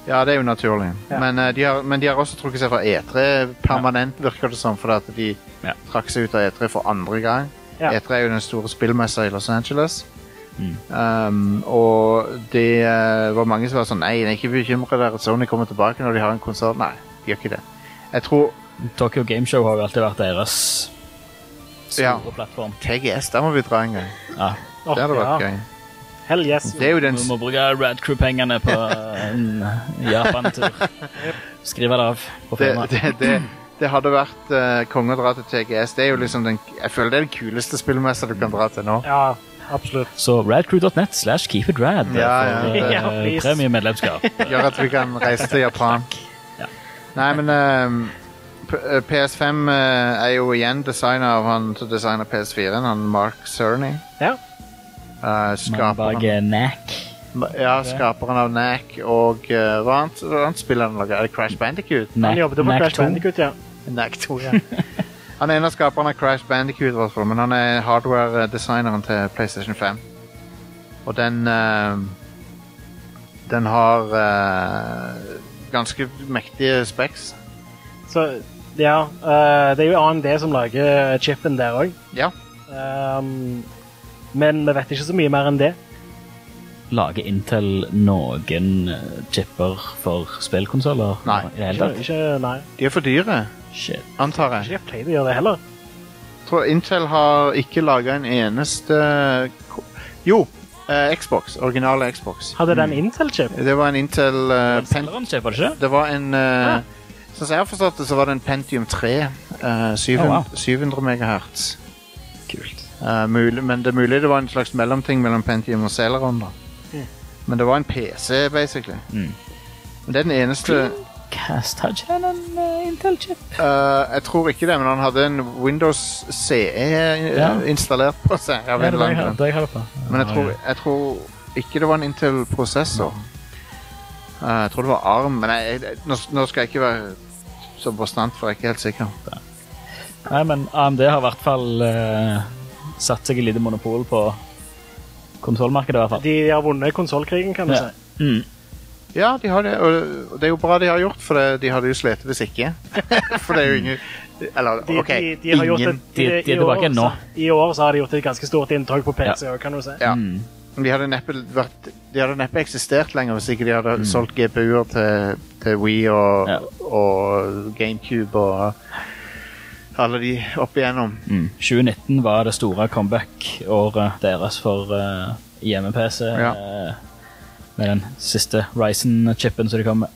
S1: Ja, det er jo naturlig.
S4: Ja.
S1: Men, eh, de har, men de har også trukket E seg fra E3 permanent, virker det som. Fordi at de
S2: Ja.
S1: trakk seg ut av E3 for andre gang.
S4: Ja.
S1: E3 er jo den store spillmessa i Los Angeles.
S2: Mm.
S1: Um, og det eh, var mange som var sånn Nei, jeg er ikke bekymra der at Sony kommer tilbake når de har en konsert. Nei, de gjør ikke det. Jeg tror
S2: Tokyo Gameshow har jo alltid vært deres store
S1: Ja.
S2: plattform.
S1: TGS, der må vi dra en gang.
S2: Ja.
S4: Åh,
S1: det hadde vært
S4: ja.
S1: gøy.
S4: Hell yes.
S1: Det er jo den
S2: Vi må bruke Rad Crew-pengene på en
S1: (laughs)
S2: Japan-tur. Skrive det av på
S1: det,
S2: firmaet.
S1: det, det, det hadde vært uh, konge å dra til TGS. Det er jo liksom den, jeg føler det er den kuleste spillmessa du kan dra til nå.
S4: Ja, absolutt.
S2: Så radcrew.net slash keep it rad
S1: Ja, ja.
S2: for eh,
S4: Ja,
S1: (laughs)
S4: please.
S2: premiemedlemskap.
S1: Gjør at vi kan reise til Japan.
S2: Ja.
S1: Nei, men eh, P- eh, PS5 eh, er jo igjen designa av han som designa PS4-en, han Mark Cerny.
S4: Ja.
S1: Eh,
S2: Man
S1: skaperen,
S2: bak eh, Knack.
S1: ja, skaperen av NAC og eh, hva annet, hva annet spill han lager? Er det Crash Bandicoot?
S2: Knack-
S4: Han jobbet på
S2: Knack
S4: Crash
S2: 2.
S4: Bandicoot, ja.
S1: NAC 2, ja. Han er en av skaperne av Crash Bandicoot, i hvert fall, men han er hardware-designeren til PlayStation 5. Og den eh, Den har eh, ganske mektige specs.
S4: (laughs) Så ja, eh, det er jo AMD som lager chipen der òg.
S1: Ja.
S4: men vi vet ikke så mye mer enn det.
S2: Lager Intel noen eh, chipper for spillkonsoller?
S1: Nei.
S2: I det hele
S4: Ikke,
S2: tatt?
S4: ikke, nei,
S1: De er for dyre,
S2: Shit.
S1: antar jeg.
S4: ikke Play det gjør det heller.
S1: Jeg tror Intel har ikke laga en eneste ko- Jo, eh, Xbox. Originale Xbox.
S4: Hadde den
S2: Mm.
S4: Intel-chip?
S1: Det var en Intel eh, Pent...
S2: Selger en chip, var det ikke?
S1: Det var en eh,
S2: Ah.
S1: Sånn som jeg har forstått det, så var det en Pentium 3. eh, 700,
S2: Oh, wow.
S1: 700 megahertz.
S2: Kult.
S1: Eh, mulig, men det er mulig det var en slags mellomting mellom Pentium og Celeron. da
S4: Mm.
S1: Men det var en PC, basically.
S2: Mm.
S1: Men det er den eneste
S2: Cast hadde ikke den en eh, Intel-chip?
S1: Eh, Jeg tror ikke det, men han hadde en Windows CE eh,
S2: Ja.
S1: installert på seg. av en
S2: Ja, det
S1: eller
S2: var
S1: annen
S2: jeg
S1: grunn.
S2: hadde- jeg hadde på.
S1: Men jeg
S2: Ja,
S1: tror,
S2: ja.
S1: jeg tror ikke det var en Intel-prosessor. Eh, jeg tror det var ARM, men jeg, jeg, nå, nå skal jeg ikke være så bastant, for jeg er ikke helt sikker.
S2: Nei, men AMD har i hvert fall eh, satt seg et lite monopol på konsollmarkedet, i hvert fall.
S4: De har vunnet konsollkrigen, kan du
S2: Ja.
S4: si.
S2: Mm.
S1: Ja, de har det, og det er jo bra de har gjort, for det, de hadde jo slitt hvis ikke. (laughs) for det er jo ingen Eller,
S4: De,
S1: OK,
S4: de, de har gjort
S1: ingen.
S4: et,
S2: de- de er
S4: i
S2: tilbake
S4: år,
S2: nå.
S4: Så, I år så har de gjort et ganske stort inntog på PC òg, kan du si.
S1: Ja.
S2: Mm.
S1: Men De hadde neppe, vært, de hadde neppe eksistert lenger hvis ikke de hadde solgt GPU-er til, til Wii og,
S2: Ja.
S1: og GameCube og alle de opp igjennom.
S2: Mm. 2019 var det store comeback-året deres for eh, hjemme-PC.
S1: Ja.
S2: eh, med den siste Ryzen-chipen som de kom med.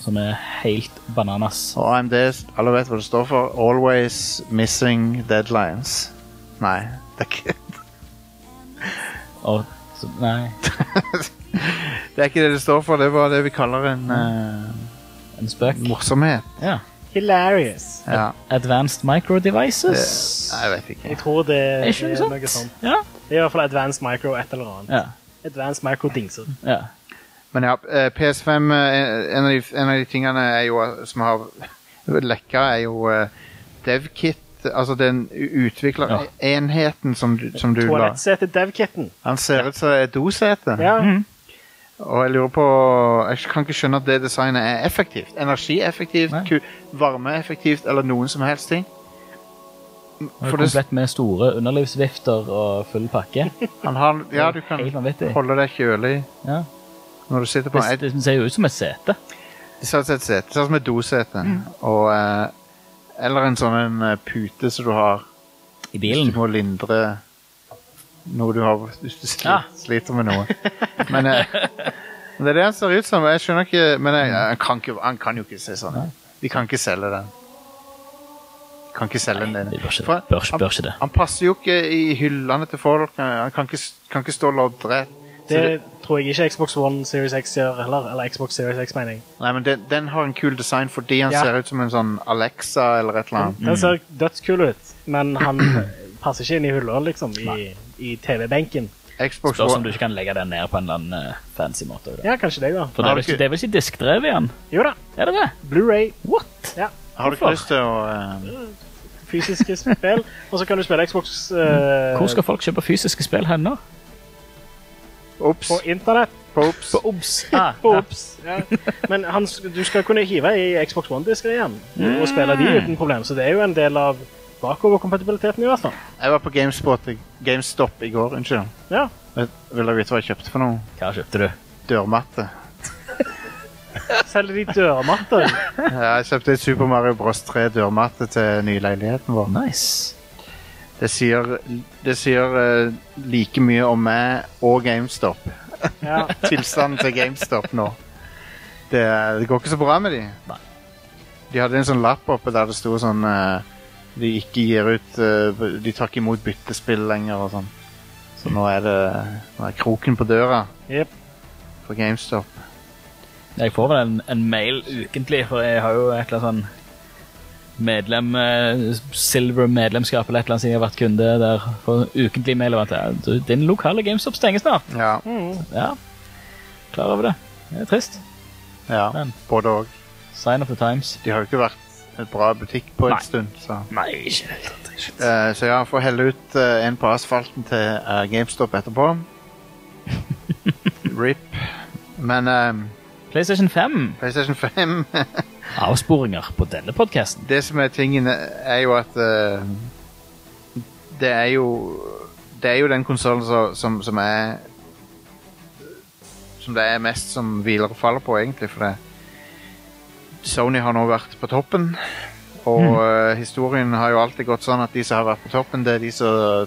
S2: Som er helt bananas.
S1: Og AMD, alle vet hva det står for. Always missing deadlines. Nei, det er ikke (laughs)
S2: Og, så, nei,
S1: det, er ikke det det står for. Det var det vi kaller en eh,
S2: en spøk.
S1: morsomhet.
S2: Ja.
S4: Hilarious.
S1: Ja,
S2: Advanced Micro
S1: det,
S2: Devices.
S1: jeg vet ikke.
S4: Jeg tror det
S2: Er
S4: er,
S2: ikke noe
S4: noe
S2: sånt?
S4: sånt.
S2: Ja.
S4: Det er i hvert fall Advanced Micro et eller annet.
S2: ja.
S4: Advanced Micro dingser.
S2: ja.
S1: Men ja, eh, PS5 eh, en, av de, en av de tingene er jo, eh, som har lekka, er jo eh, DevKit. Altså den utviklerenheten som, du- som du la.
S4: Toalettsetet DevKitten.
S1: Han ser ut som et dosete.
S4: Ja.
S1: Og jeg lurer på Jeg kan ikke skjønne at det designet er effektivt. Energieffektivt,
S2: Nei.
S1: ku- varmeeffektivt eller noen som helst ting.
S2: Og
S1: For det,
S2: komplett med store underlivsvifter og full pakke.
S1: han har Ja, du kan
S2: Helt vanvittig.
S1: holde deg kjølig
S2: Ja.
S1: når du sitter på
S2: Det,
S1: en
S2: det ser jo ut som et sete.
S1: Det ser ut som et sete. Det ser ut som et dosete.
S2: Mm.
S1: Og eh, Eller en sånn en eh, pute som du har
S2: I
S1: hvis
S2: bilen.
S1: du må lindre noe du har Hvis du sli-
S2: Ja.
S1: sliter med noe. Men eh, men det er det han ser ut som. og Jeg skjønner ikke Men jeg, han, kan ikke, han kan jo ikke se sånn ut. De kan ikke selge den. De kan ikke selge den.
S2: de bør ikke det.
S1: For
S2: Bør-
S1: han-
S2: bør ikke det.
S1: Han passer jo ikke i hyllene til folk. Han han kan ikke, s- kan ikke stå loddrett. Så
S4: Det
S1: det-
S4: tror jeg ikke Xbox One Series X gjør heller. Eller Xbox Series X, mener jeg.
S1: Nei, men den, den har en kul design fordi han
S4: Ja.
S1: ser ut som en sånn Alexa eller et eller annet.
S2: Mm.
S4: Den ser dødskul ut, men
S2: (clears throat)
S4: han passer ikke inn i hullet, liksom, i, i TV-benken.
S1: Xbox
S2: Spørs om du
S1: One
S2: ikke kan legge den ned på en eller annen eh, fancy måte. Da.
S4: Ja, kanskje det, da.
S2: For det er, vel ikke, det er vel ikke diskdrev i den?
S4: Jo da.
S2: Er det det?
S4: Blu-ray.
S2: What?
S4: Ja.
S1: Har du ikke
S2: Hvorfor?
S1: lyst til å eh,
S4: Fysiske spill. Og så kan du spille Xbox eh,
S2: Hvor skal folk kjøpe fysiske spill hen nå?
S1: Ops.
S4: på internett.
S1: Popes.
S2: OBS. Ah, ja.
S4: Ops. Ja. Men han, s- du skal kunne hive i Xbox One-disker igjen og spille de uten problem, så det er jo en del av bakoverkompatibiliteten, i hvert fall.
S1: Jeg var på GameSpot, GameStop i går. Unnskyld.
S4: Ja.
S1: Vet- Vil dere vite hva jeg kjøpte for noe?
S2: Hva kjøpte du?
S1: Dørmatte.
S4: Selger de dørmatter?
S1: (laughs) Ja, Jeg kjøpte en Super Mario Bros. 3-dørmatte til nye leiligheten vår.
S2: Nice.
S1: Det sier, det sier eh, like mye om meg og GameStop.
S4: Ja.
S1: Tilstanden til GameStop nå. Det, det går ikke så bra med de.
S2: Nei.
S1: De hadde en sånn lapp oppe der det sto sånn eh, De ikke gir ut eh, De tar ikke imot byttespill lenger og sånn. Så nå er det nå er kroken på døra
S4: Jep.
S1: for GameStop.
S2: Jeg får vel en, en mail ukentlig, for jeg har jo et eller annet sånn medlem, eh, Silver-medlemskap eller et eller annet siden jeg har vært kunde der. For ukentlig mail om at ja, du, din lokale GameStop stenger snart.
S1: Ja.
S4: Mm.
S2: Ja, klar over det. Det er trist.
S1: ja.
S2: Men-
S1: Både òg.
S2: Sign of the times.
S1: De har jo ikke vært et bra butikk på en
S2: Nei.
S1: stund, så
S2: Nei, ikke helt tatt. ikke helt.
S1: Eh, Så ja, får helle ut eh, en på asfalten til eh, GameStop etterpå.
S2: (laughs)
S1: RIP. Men eh,
S2: PlayStation 5.
S1: PlayStation 5
S2: Avsporinger på denne podcasten.
S1: Det som er tingen, er jo at eh, Det er jo Det er jo den konsollen som, som, som er Som det er mest som hviler og faller på, egentlig. For det Sony har nå vært på toppen. Og eh, historien har jo alltid gått sånn at de som har vært på toppen, det er de som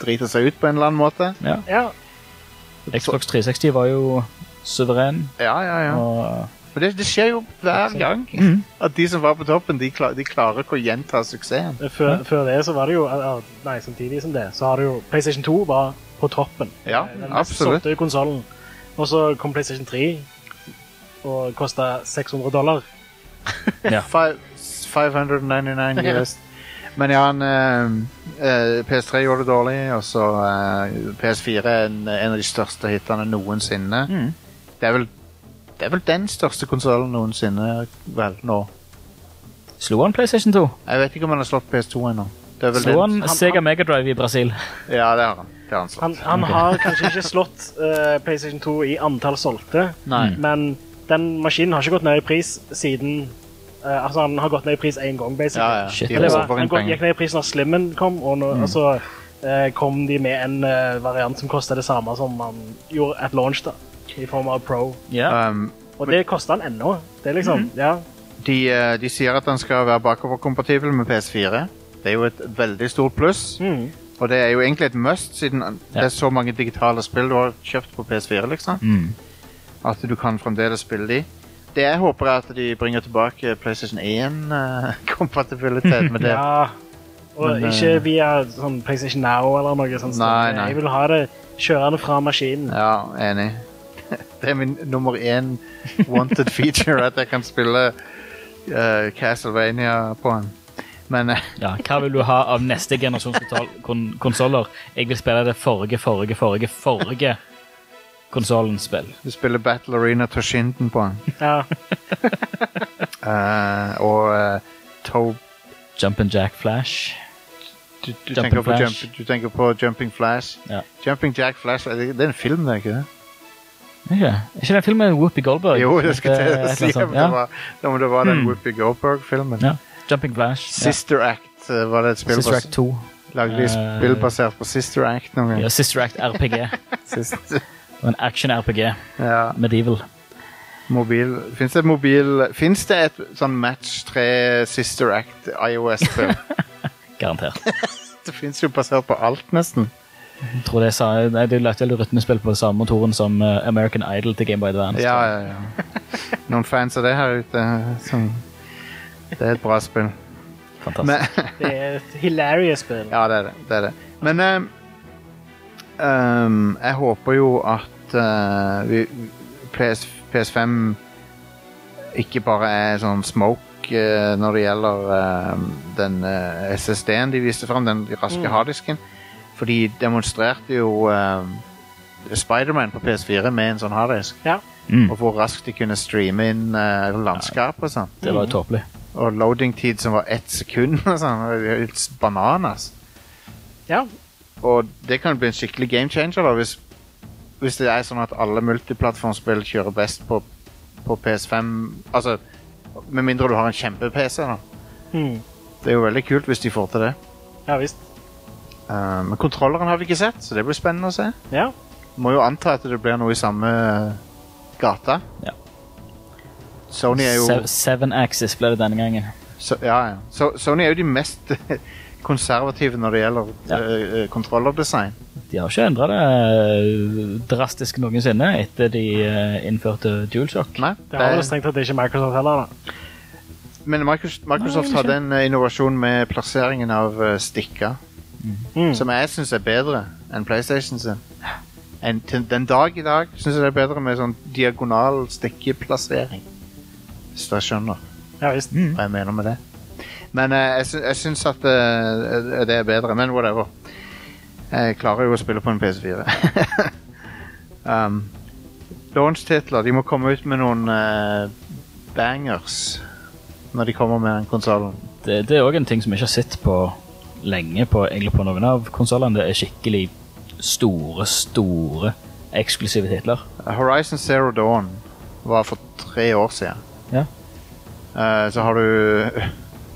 S1: driter seg ut på en eller annen måte.
S2: Ja.
S4: ja.
S2: Xbox 360 var jo suveren.
S1: Ja, ja, ja.
S2: Og
S1: Men det, det skjer jo hver gang
S2: Mhm.
S1: at de som var på toppen, de, kla- de klarer ikke å gjenta suksessen.
S4: Før, før det så var det jo eller, Nei, samtidig som det, så har det jo PlayStation 2 var på toppen.
S1: Ja,
S4: Den mest
S1: absolutt.
S4: solgte konsollen. Og så kom PlayStation 3 og kosta 600 dollar.
S1: Fi- 599
S2: (laughs)
S1: US. Men ja, han, eh, eh, PS3 gjorde det dårlig, og så eh, PS4 er en, en av de største hitene noensinne.
S2: Mhm.
S1: Det, er vel, det er vel den største konsollen noensinne, vel, nå.
S2: slo han PlayStation 2?
S1: Jeg vet ikke om han har slått PS2 ennå. Det er vel
S2: Slo
S1: den-
S2: han Sega Mega Drive i Brasil?
S1: Ja, det har han. Det har han slått.
S4: Han, han har kanskje ikke slått eh, PlayStation 2 i antall solgte,
S1: Nei.
S4: men den maskinen har ikke gått ned i pris siden eh, Altså, han har gått ned i pris én gang, basically.
S1: Ja, ja.
S2: Ah, Shit,
S1: de
S2: det
S4: Det
S2: var-
S4: var,
S1: håver
S4: han
S1: inn
S4: gikk-
S1: penger.
S4: gikk ned i pris når Slimmen kom, og, nå,
S1: Mm.
S4: og så eh, kom de med en eh, variant som kosta det samme som man gjorde at launch, da, i form av Pro.
S2: Ja.
S1: Um,
S4: Og det kosta han ennå. Det er liksom,
S1: Mm.
S4: ja.
S1: De, eh, de sier at den skal være bakoverkompatibel med PS4. Det er jo et veldig stort pluss.
S4: Mm.
S1: Og det er jo egentlig et must, siden det
S2: Ja.
S1: er så mange digitale spill du har kjøpt på PS4. liksom.
S2: Mm.
S1: At du kan fremdeles spille de. Det jeg håper, er at de bringer tilbake PlayStation (laughs) 1-kompatibilitet med det.
S4: (laughs) ja. Og
S1: Men, eh,
S4: ikke via sånn PlayStation Now eller noe sånt.
S1: Nei, nei.
S4: Jeg vil ha det kjørende fra maskinen.
S1: Ja, enig. (laughs) Det er min nummer én wanted feature at jeg kan spille eh, Castlevania på den. Men eh,
S2: ja. Hva vil du ha av neste generasjons konsoll- kon konsoller? Jeg vil spille det forrige, forrige, forrige, forrige konsollens spill.
S1: du spiller Battle Arena Toshinden på den.
S4: Ja.
S1: Eh, og eh, Toe
S2: Jump and Jack Flash.
S1: du, du,
S2: Jumping
S1: tenker på
S2: Flash.
S1: jump, du tenker på Jumping Flash.
S2: Ja.
S1: Jumping Jack Flash er det, det er en film, det, er ikke det?
S2: Ikke, er ikke den filmen med Whoopi Goldberg?
S1: Jo, det skal
S2: Et eller
S1: til å
S2: annet
S1: si
S2: sånt,
S1: om det
S2: ja. Hmm.
S1: var, om det var den Whoopi Goldberg-filmen.
S2: ja. Jumping Flash. Ja.
S1: Sister Act eh, var det et spill
S2: Sister
S1: bas-
S2: Act 2.
S1: Lagde de
S2: Eh,
S1: spill basert på Sister Act noen gang?
S2: Ja, Sister Act
S1: (laughs)
S2: RPG.
S1: Sister-
S2: Og En action-RPG.
S1: ja,
S2: Medieval.
S1: mobil Fins det et mobil Fins det et sånn Match 3 Sister Act
S2: (laughs)
S1: IOS-spill?
S2: Garantert.
S1: (laughs) det fins jo basert på alt, nesten.
S2: Jeg tror det sa Nei, det er jo lagt til rytmespill på samme motoren som eh, American Idol til Game Boy Advance.
S1: Ja, ja, ja. Noen fans av det her ute eh, som Det er et bra spill.
S2: (laughs) Fantastisk.
S1: Men
S4: Det er et hilarious spill.
S1: Ja, det er det. det, er det. Men ehm, ehm, jeg håper jo at eh, vi, PS, PS5 ikke bare er sånn smoke eh, når det gjelder ehm, den eh, SSD-en de viste fram, den raske harddisken. For de demonstrerte jo ehm, Spiderman på PS4 med en sånn harddisk.
S4: Ja.
S2: Mm.
S1: Og hvor raskt de kunne streame inn eh, landskap og sånn.
S2: Det var jo tåpelig.
S1: Og loading-tid som var ett sekund og sånn. Det er jo helt Bananas.
S4: ja.
S1: Og det kan bli en skikkelig game changer da, hvis, hvis det er sånn at alle multiplattformspill kjører best på, på PS5. Altså, med mindre du har en kjempe-PC, da.
S4: Mm.
S1: Det er jo veldig kult hvis de får til det.
S4: Ja visst.
S1: Eh, men kontrolleren har vi ikke sett, så det blir spennende å se.
S4: Ja.
S1: Må jo anta at det blir noe i samme eh, gata.
S2: Ja.
S1: Sony er jo
S2: Se- Seven Axis ble det denne gangen.
S1: so, ja, ja. So, Sony er jo de mest (laughs) konservative når det gjelder
S2: Ja.
S1: eh, eh, kontrollerdesign.
S2: De har ikke endra det eh, drastisk noensinne etter de eh, innførte DualShock.
S1: Nei,
S4: Det har vel
S1: det-
S4: strengt tatt ikke Microsoft heller, da.
S1: Men Microsoft, Microsoft
S2: Nei,
S1: hadde en eh, innovasjon med plasseringen av eh, stikka,
S4: Mm.
S1: som jeg syns er bedre enn PlayStation sin. En, til den dag i dag syns jeg det er bedre med sånn diagonal stikkeplassering. Hvis dere skjønner
S4: Ja visst.
S1: hva jeg mener med det. Men eh, jeg, sy jeg syns at eh, det er bedre, men whatever. Jeg klarer jo å spille på en PS4. (laughs) um, Launch-titler. De må komme ut med noen eh, bangers når de kommer med den konsollen.
S2: Det, det er òg en ting som jeg ikke har sett på lenge på, egentlig på noen av konsollene. Det er skikkelig store, store eksklusive titler.
S1: Eh, Horizon Zero Dawn var for tre år siden.
S2: Ja.
S1: Eh, så har du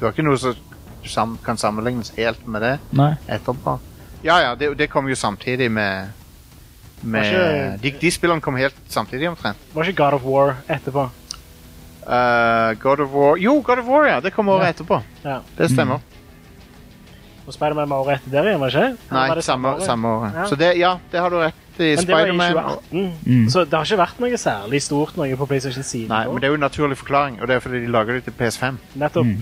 S1: Du har ikke noe som sam kan sammenlignes helt med det
S2: Nei.
S1: etterpå. Ja ja, det, det kom jo samtidig med, med
S4: Var
S1: de, de spillene kom helt samtidig, omtrent.
S4: Var ikke God of War etterpå?
S1: Eh, God of War Jo, God of War, ja! Det kom året
S2: Ja. Mm.
S1: etterpå.
S4: Ja.
S1: Det stemmer.
S4: Og Spiderman var året etter der igjen, var det ikke? Eller var
S1: Nei,
S4: det
S1: samme,
S4: året?
S1: samme året.
S4: Ja.
S1: Så det, ja, det har du rett i.
S4: Men det var i
S1: Spiderman
S4: 2018,
S2: Mm.
S4: så det har ikke vært noe særlig stort noe på PlayStation siden.
S1: Nei, men det er jo en naturlig forklaring, og det er fordi de lager det til PS5.
S4: Nettopp.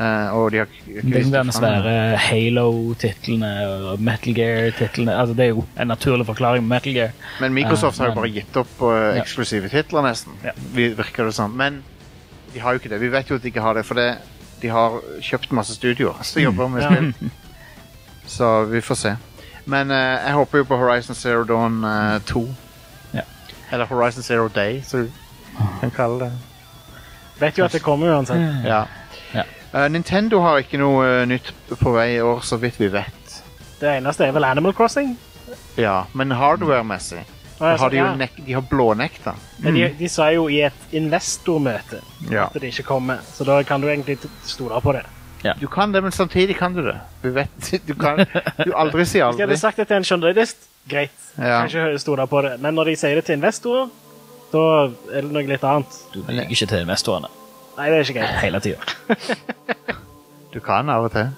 S1: eh, og de har ikke- ikke
S2: Det
S1: lyst
S2: som
S1: til
S2: er
S1: å
S2: de
S1: forandre det.
S2: svære Halo-titlene og Metal Gear-titlene altså Det er jo en naturlig forklaring med Metal Gear.
S1: Men Microsoft
S2: Ja,
S1: har jo
S2: men-
S1: bare gitt opp på eh,
S2: Ja.
S1: eksklusive titler, nesten.
S2: Ja.
S1: Vi virker det som. Men de har jo ikke det. Vi vet jo at de ikke har det, for det, de har kjøpt masse studioer som jobber med
S4: Ja.
S1: spill. Så vi får se. Men eh, jeg håper jo på Horizon Zero Dawn eh, 2.
S2: Ja.
S1: Eller Horizon Zero Day, som du kan kalle det.
S4: Vet jo at det kommer uansett.
S1: Ja.
S2: Ja.
S1: Eh, Nintendo har ikke noe eh, nytt på vei i år, så vidt vi vet.
S4: Det eneste er vel Animal Crossing.
S1: Ja, Men hardware-messig
S4: Og
S1: har
S4: jeg sa,
S1: de jo
S4: ja.
S1: nek de har blånekta.
S4: Men de, de sa jo i et investormøte
S1: Ja.
S4: at det ikke kommer, så da kan du egentlig t- stole på det.
S1: Du kan det, men samtidig kan du det. Du vet, du kan du aldri sier
S4: Hvis de hadde
S1: aldri.
S4: sagt det til en journalist, greit.
S1: Ja.
S4: Kanskje stole på det. Men når de sier det til investorer, da er det noe litt annet.
S2: Du ligger ikke til investorene
S4: Nei, det er ikke greit.
S2: hele tida.
S1: Du kan av og til.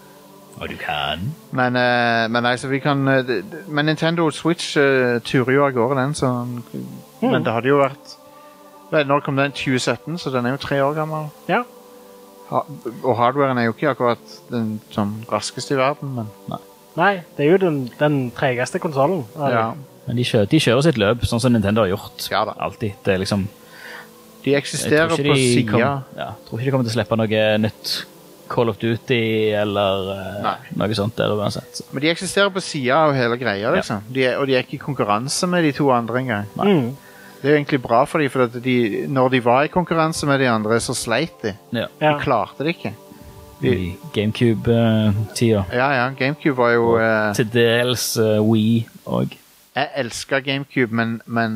S2: Og du kan.
S1: Men, eh, men nei, så vi kan eh, d- d- Men Nintendo Switch eh, turer jo av gårde, den, så Men det hadde jo vært Vel, Når kom den? 2017, så den er jo tre år gammel.
S4: Ja.
S1: Ha, og hardwaren er jo ikke akkurat den sånn raskeste i verden, men
S4: Nei, det er jo den, den tregeste konsollen.
S1: ja.
S2: Men de kjører, de kjører sitt løp, sånn som Nintendo har gjort.
S1: Ja da.
S2: Alltid. Det er liksom
S1: De
S2: Jeg tror
S1: eksisterer
S2: ikke
S1: på
S2: de kom-
S1: sida.
S2: Ja, jeg tror ikke de kommer til å slippe noe nytt Call of Duty eller eh,
S1: Nei.
S2: noe sånt der uansett. Så.
S1: Men de eksisterer på sida av hele greia, liksom. De er, og de er ikke i konkurranse med de to andre engang.
S4: Mm.
S1: Det er jo egentlig bra for dem, for at de, når de var i konkurranse med de andre, så sleit de.
S2: Ja.
S4: Ja.
S1: De klarte det ikke. De,
S2: I GameCube-tida.
S1: ja, ja, GameCube var jo eh,
S2: Til dels eh, Wii òg.
S1: Jeg elska GameCube, men, men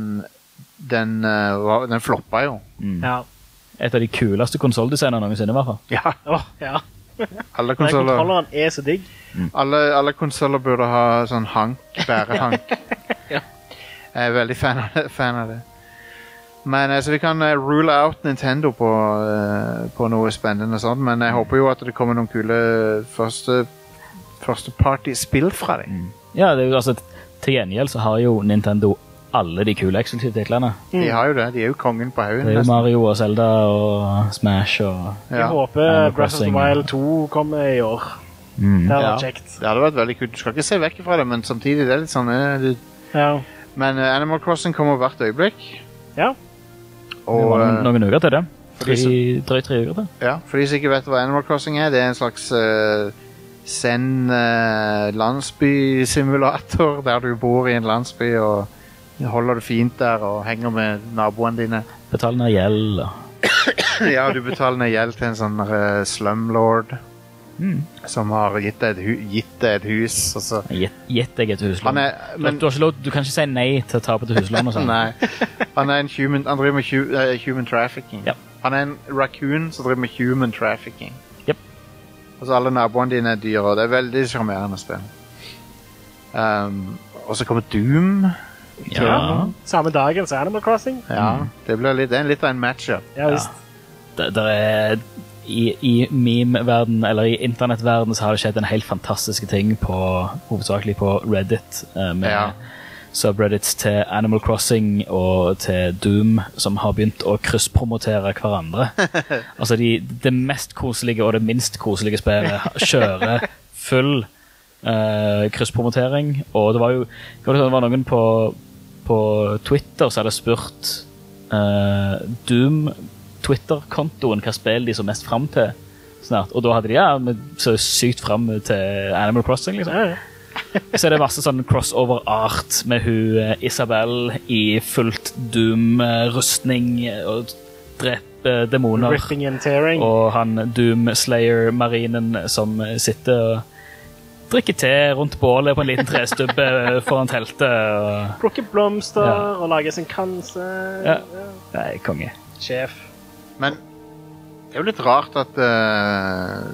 S1: den, eh, var, den floppa jo.
S4: ja.
S2: Et av de kuleste konsolldesignene noensinne, i hvert fall.
S1: Ja,
S4: Åh, ja.
S1: alle
S4: Den
S1: konsoller
S4: kontrolleren er så digg.
S1: alle, alle konsoller burde ha sånn hank, bærehank. Jeg er veldig fan av, fan av det. Men eh, så vi kan eh, rule out Nintendo på, eh, på noe spennende sånn, men jeg håper jo at det kommer noen kule første, første party-spill fra dem.
S2: Ja, det er jo altså Til gjengjeld så har jo Nintendo alle de kule eksklusive titlene.
S1: De har jo det. De er jo kongen på haugen.
S2: Det er jo
S1: nesten.
S2: Mario og Zelda og Smash og
S4: Jeg
S1: Ja.
S4: håper
S2: Animal
S4: Breath of the
S2: Crossing.
S4: Wild 2 kommer i år. Det hadde vært
S1: Ja.
S4: kjekt.
S1: Det hadde vært veldig kult. Du skal ikke se vekk fra det, men samtidig det er litt sånn eh, du-
S4: Ja.
S1: Men eh, Animal Crossing kommer hvert øyeblikk.
S4: ja.
S2: Det
S1: Og
S2: var noen,
S1: eh,
S2: noen uker til det.
S1: fordi så-
S2: Tre- Drøyt tre uker til.
S1: ja, for de som ikke vet hva Animal Crossing er, det er en slags uh, Zen-landsbysimulator (laughs) der du bor i en landsby og holder det fint der og henger med naboene dine. (laughs)
S2: Betal ned gjeld og
S1: ja, du betaler ned gjeld til en sånn eh, slumlord
S2: Mm.
S1: som har gitt deg, et hu gitt deg et hus, og så
S2: gitt- Gitt deg et huslån.
S1: Han er-
S2: Du-
S1: men-
S2: du, har ikke lov, du kan ikke si nei til å tape til huslån og sånn.
S1: (laughs) Nei. Han er en human Han driver med hu, eh, human trafficking.
S2: Ja.
S1: Han er en raccoon som driver med human trafficking.
S2: Jep.
S1: Altså alle naboene dine er dyr, og det er veldig sjarmerende spill. Um, og så kommer Doom. i
S2: Ja.
S1: tiden.
S4: Samme dagen så Animal Crossing.
S1: ja det, blir litt, det er litt av en matchup.
S4: Ja, visst.
S2: Det, der er, I i meme-verden, eller i internettverdenen så har det skjedd en helt fantastiske ting på, hovedsakelig på Reddit. eh, Med
S1: Ja.
S2: subreddits til Animal Crossing og til Doom, som har begynt å krysspromotere hverandre. altså de, Det mest koselige og det minst koselige spillet kjører full eh, krysspromotering. Og det var jo hva var liksom, det, det var noen på, på Twitter som hadde spurt eh, Doom Twitter-kontoen hva spill de så mest fram til snart. Og da hadde de ja, vi så sykt fram til Animal Crossing, liksom.
S4: Ja, ja.
S2: Så er det masse sånn crossover-art med hun eh, Isabel i fullt Doom-rustning og dreper demoner.
S4: Ripping and tearing.
S2: Og han Doom Slayer-marinen som sitter og drikker te rundt bålet på en liten trestubbe
S1: (laughs)
S2: foran teltet. Og...
S4: Plukker blomster
S2: Ja.
S4: og lager sin kanse.
S2: Ja. Nei, konge.
S4: Sjef.
S1: Men det er jo litt rart at eh,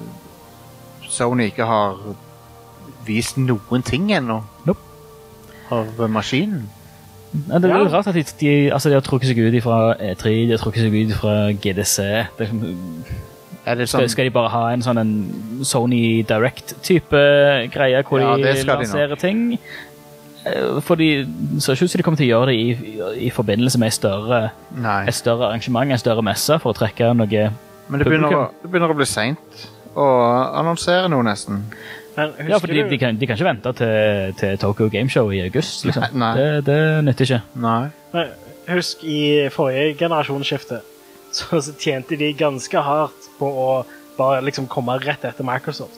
S1: Sony ikke har vist noen ting ennå
S2: Nope.
S1: av eh, maskinen.
S2: Nei, det er
S4: Ja.
S2: litt rart at de, de, altså, de har trukket seg ut fra E3, de har trukket seg ut fra GDC. Det, er liksom-
S1: Er det sånn,
S2: skal, skal de bare ha en sånn en Sony Direct-type greie, hvor
S1: Ja,
S2: de
S1: det skal de nok.
S2: lanserer ting? Eh, For de ser ikke ut som de kommer til å gjøre det i, i, i forbindelse med et større,
S1: Nei.
S2: et større arrangement, en større messe, for å trekke noe
S1: Men det begynner, å,
S2: publikum.
S1: det begynner å bli seint å annonsere noe, nesten.
S4: Men husker
S2: Ja, for de,
S4: du
S2: de, kan, de kan ikke vente til, til Tokyo Gameshow i august,
S1: (laughs)
S2: liksom.
S1: Nei, nei.
S2: Det, det nytter ikke.
S1: Nei.
S4: Nei, Husk i forrige generasjonsskifte så, så tjente de ganske hardt på å bare liksom komme rett etter Microsoft.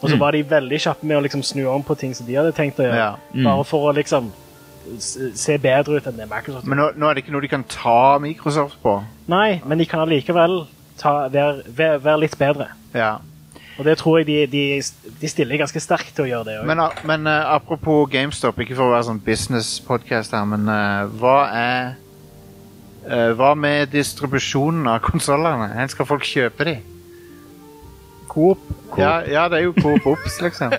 S4: Og så var de veldig kjappe med å liksom snu om på ting som de hadde tenkt å gjøre.
S1: Mm. Ja.
S2: Mm.
S4: Bare for å liksom s- se bedre ut enn det Microsoft
S1: Men nå, nå er det ikke noe de kan ta Microsoft på.
S4: Nei, men de kan allikevel ta- være, være, være litt bedre.
S1: Ja.
S4: Og det tror jeg de, de, de stiller ganske sterkt til å gjøre det òg.
S1: Men, a- men eh, apropos GameStop, ikke for å være sånn business-podkast her, men eh, hva er eh, Hva med distribusjonen av konsollene? Hvor skal folk kjøpe de?
S4: Coop.
S1: Ja, ja, det er jo Coop Ops,
S4: (laughs)
S1: liksom.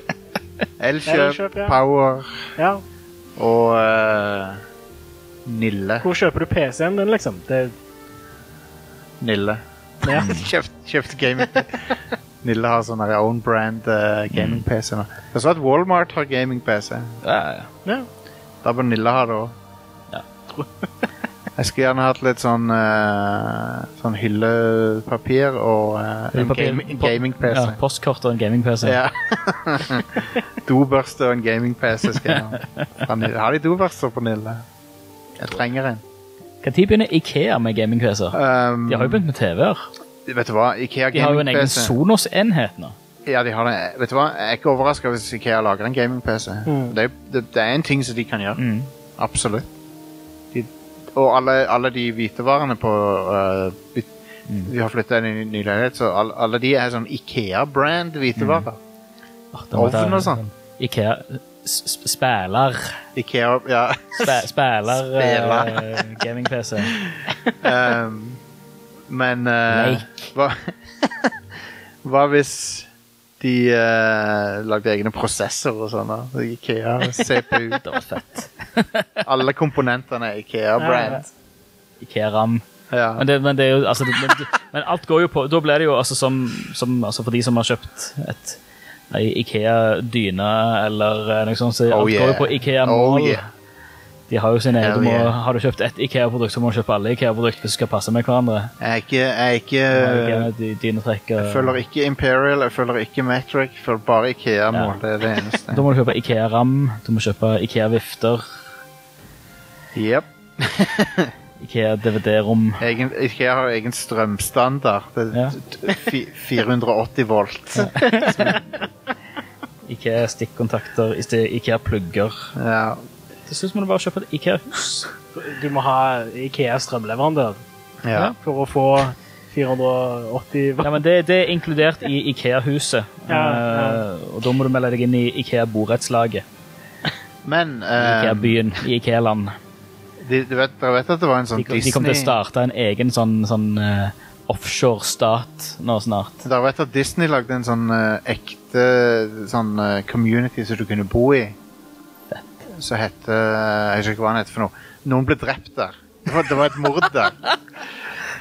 S1: Elkjøp,
S4: Elkjøp, ja.
S1: Power
S4: Ja.
S1: og eh, Nille.
S4: Hvor kjøper du PC-en din, liksom?
S1: (clears throat)
S4: Det,
S1: Nille.
S4: ja.
S1: Kjøpt, kjøpt gaming. (laughs) Nille har sånn her own brand eh,
S2: Mm.
S1: gaming-PC nå. Jeg så at Walmart har gaming-PC.
S2: Ja, ja.
S4: ja.
S1: Da bør Nille ha det òg.
S2: Ja.
S1: (laughs) Jeg skulle gjerne hatt litt sånn eh, Sånn hyllepapir og eh, en
S2: Papir-
S1: gaming- en
S2: po-
S1: gaming-PC.
S2: Ja, postkort og en gaming-PC.
S1: Ja. (laughs) dobørste og en gaming-PC skal jeg ha. Fra Nille. Har de dobørster på Nille? Jeg trenger en.
S2: Når begynner Ikea med gaming-PC-er?
S1: Um,
S2: De har jo begynt med TV-er.
S1: Vet du hva? Ikea
S2: De har jo en egen
S1: gaming-PC
S2: Sonos-enhet nå.
S1: Ja, de har det. Vet du hva? Jeg er ikke overraska hvis Ikea lager en gaming-PC. Det, er- det, det er en ting som de kan gjøre.
S2: Mm.
S1: Absolutt. De, og alle, alle de hvitevarene på øh, vi,
S2: Mm.
S1: vi har flytta inn i en ny leilighet, så alle, alle de er sånn Ikea-brand hvitevarer.
S2: Ah, da må jeg ta-
S1: Ovn og sånn.
S2: Ikea s- s- Spæler.
S1: Ikea Ja.
S2: Spæ- Spæler
S1: Spæler.
S2: eh, gaming-PC.
S1: Ehm, men eh, hva, (laughs) hva hvis de eh, lagde egne prosessorer og sånn? da? Ikea, CPU
S2: Det var fett.
S1: Alle komponentene er Ikea-brand.
S2: Ikea-ram.
S1: Ja.
S2: Men, det, men, det er jo, altså, det, men, men alt går jo på Da blir det jo altså som, som altså, For de som har kjøpt et ei Ikea-dyne eller eh, noe sånt, så alt
S1: Oh,
S2: går
S1: yeah.
S2: jo på
S1: Oh,
S2: Ikea-mål.
S1: yeah.
S2: De har jo sine egne.
S1: Hell
S2: Du må-
S1: yeah.
S2: Har du kjøpt ett Ikea-produkt, så må du kjøpe alle Ikea-produkter hvis du skal passe med hverandre.
S1: Jeg er ikke, jeg er ikke
S2: Ikea, dynetrekk og-
S1: Eh, Jeg følger ikke Imperial, jeg følger ikke Metric, jeg følger bare Ikea-mål. Det er det eneste.
S2: Da må du kjøpe Ikea-ram, du må kjøpe Ikea-vifter,
S1: (laughs) Jep.
S2: Ikea-DVD-rom.
S1: Egen, Ikea har egen strømstandard. Det er
S2: Ja.
S1: fi- 480 volt.
S2: Ikea-stikkontakter, i stedet Ikea-plugger.
S1: Ja.
S2: Til slutt må du bare kjøpe et Ikea-hus.
S4: Du må ha Ikea strømleverandør
S1: ja.
S4: for å få 480
S2: Ja, men det, det er inkludert i Ikea-huset.
S4: Ja, ja.
S2: Eh, og da må du melde deg inn i Ikea-borettslaget.
S1: Men
S2: I
S1: eh,
S2: Ikea-byen, i Ikea-land.
S1: de, du vet, dere vet at det var en sånn
S2: De, de kommer til å
S1: Disney
S2: starte en egen sånn, sånn eh, offshore-stat nå snart.
S1: Dere vet at Disney lagde en sånn eh, ekte sånn eh, community som du kunne bo i. Som het Jeg husker ikke hva den het for noe. Noen ble drept der. Det var, det var et mord der.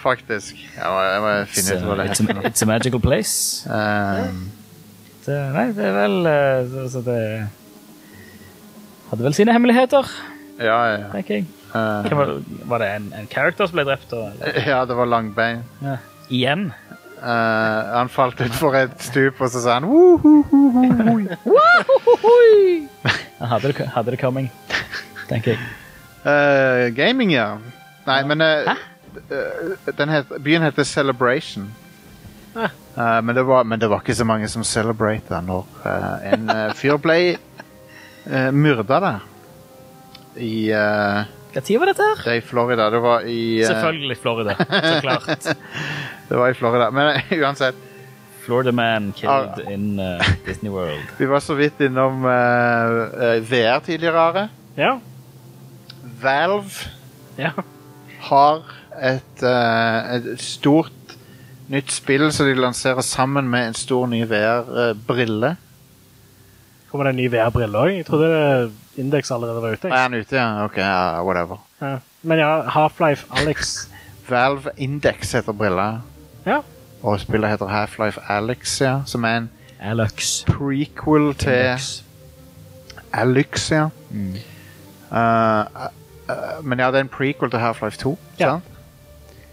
S1: Faktisk. Jeg må, jeg må
S2: It's
S1: finne ut hva
S2: a,
S1: det
S2: it's,
S1: heter.
S2: a, it's a magical place.
S1: Um,
S2: Det, nei, det er vel eh, så, så det Hadde vel sine hemmeligheter,
S1: ja, ja.
S2: tenker jeg.
S1: Eh,
S2: Hvem var, var det en, en character som ble drept? Og,
S1: ja, det var langbein.
S2: ja. Igjen?
S1: Eh, han falt utfor et stup, og så sa han «Wohohohohoi».
S2: Han hadde det, hadde det coming, tenker jeg.
S1: Eh, Gaming, ja. Nei, men eh, eh, den het, byen heter Celebration. Eh, men, det var, men det var ikke så mange som celebrata når eh, en eh, fyr ble uh, myrda der. I, eh,
S2: Når var dette her?
S1: det er i Florida. Det var i, eh,
S2: Selvfølgelig Florida. Så klart.
S1: det var i Florida. Men eh, (laughs) uansett.
S2: Florida Man killed
S1: Ah.
S2: in
S1: (laughs)
S2: eh, Disney World.
S1: Vi var så vidt innom eh, eh, VR tidligere. Are.
S4: Ja.
S1: Valve
S4: ja.
S1: har et, eh, et stort nytt spill som de lanserer sammen med en stor ny VR-brille.
S4: Kommer det en ny VR-brille òg? Jeg trodde det- Index allerede var ute.
S1: Er
S4: jeg.
S1: den ute, ja? Ok, ja, whatever.
S4: Ja. Men ja, Half-Life Alex.
S1: Valve Index heter brilla,
S4: Ja.
S1: og spillet heter Half-Life Alexia, som er en
S2: Alex.
S1: prequel til
S2: Alex.
S1: Alexia.
S2: Mm.
S1: Eh, eh, men ja, det er en prequel til Half-Life 2,
S4: Ja.
S1: sant?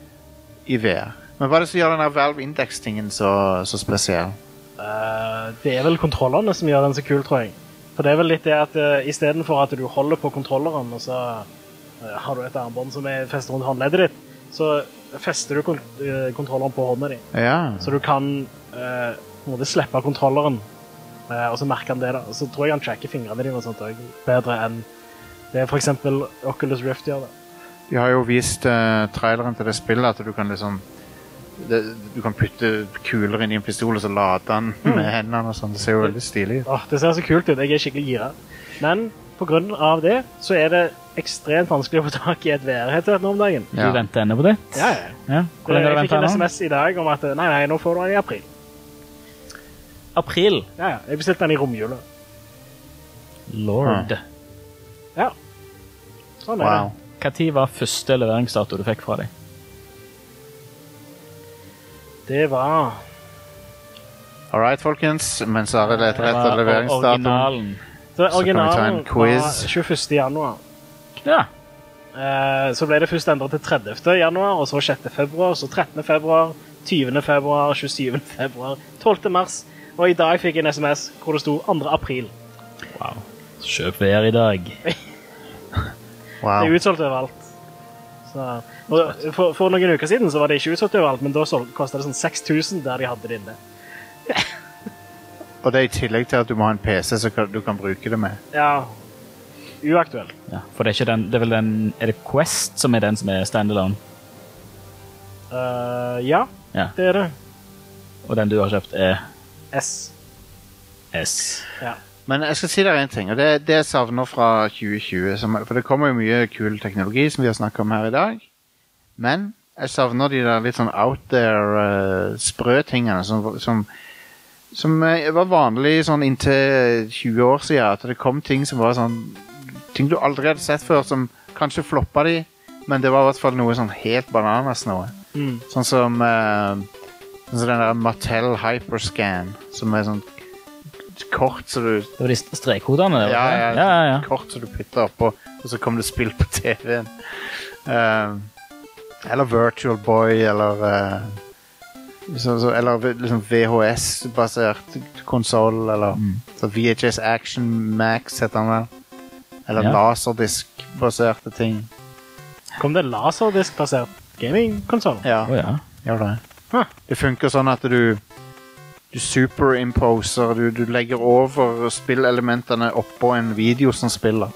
S1: I VR. Men hva er det som gjør denne Valve Index-tingen så, så spesiell?
S4: Eh, det er vel kontrollene som gjør den så kul, tror jeg. For det er vel litt det at uh, istedenfor at du holder på kontrolleren, og så eh, har du et armbånd som er festet rundt håndleddet ditt, så fester du kon eh, kontrolleren på hånda di.
S1: Ja.
S4: Så du kan eh, på en måte slippe kontrolleren, eh, og så merker han det. da. Og så tror jeg han tracker fingrene dine og sånt òg, bedre enn det for eksempel Oculus Rift gjør. det.
S1: De har jo vist eh, traileren til det spillet at du kan liksom det, Du kan putte kuler inn i en pistol og så lade den med hendene og sånn. Det ser jo veldig stilig ut.
S4: Åh, Mm. det ser så kult ut. Jeg er skikkelig gira. Men pga. det så er det ekstremt vanskelig å få tak i et VR-headset nå om dagen.
S1: Ja.
S2: Du venter ennå på det?
S4: Ja, ja.
S2: Ja. Hvor lenge har du
S4: jeg fikk en
S2: venta nå?
S4: SMS i dag om at eh, nei, nei, nå får du den i april.
S2: April.
S4: Ja, ja. Jeg bestilte den i romjula.
S2: Lord.
S4: Ja. Sånn er
S1: Wow.
S2: Når var første leveringsdato du fikk fra dem?
S4: det. Det var
S1: All right, folkens. Mens Are leter etter leveringsdatoen
S2: originalen.
S4: Så
S1: vi ta en
S4: originalen var
S1: quiz.
S4: 21. januar.
S2: Ja.
S4: Eh, så ble det først endret til 30. januar, og så 6. februar, så 13. februar, 20. februar, 27. (laughs) februar, 12. mars, og i dag fikk jeg en SMS hvor det sto 2. april.
S2: Wow. Kjøp VR i dag.
S4: Det
S1: Wow.
S4: er utsolgt overalt. Så, og for, for noen uker siden så var det ikke utsolgt overalt, men da sol- kostet det sånn 6000 der de hadde det inne.
S1: Og det er i tillegg til at du må ha en PC som kan- du kan bruke det med.
S4: Ja, uaktuelt.
S2: Ja, for det er ikke den, det er vel den Er det Quest som er den som er standalone?
S4: Eh, ja,
S2: Ja.
S4: det er det.
S2: Og den du har kjøpt, er
S4: S.
S2: S.
S4: Ja.
S1: Men jeg skal si dere en ting, og det, det jeg savner fra 2020. Som, for det kommer jo mye kul teknologi som vi har snakket om her i dag. Men jeg savner de der litt sånn out there, eh, sprø tingene som, som, som eh, var vanlig sånn inntil 20 år siden. At det kom ting som var sånn Ting du aldri hadde sett før, som kanskje floppa de, men det var i hvert fall noe sånn helt bananas noe.
S4: Mm.
S1: Sånn som eh, Sånn som den der Mattel Hyperscan, som er sånn kort så du
S2: Det var de strekkodene? det var
S1: ja,
S2: det?
S1: ja,
S2: ja, ja, ja.
S1: Kort som du putter oppå, og så kom det spill på TV-en. Ehm, eller Virtual Boy, eller eh, så, så, Eller v- liksom VHS-basert konsoll, eller
S2: Mm.
S1: så VHS Action Max heter den vel. Eller
S2: Ja.
S1: laserdisk-baserte ting.
S4: Kom det laserdisk-basert gamingkonsoll?
S1: Ja,
S2: Å, ja.
S1: gjør det. Det funker sånn at du du superimposer, du, du legger over spillelementene oppå en video som spiller.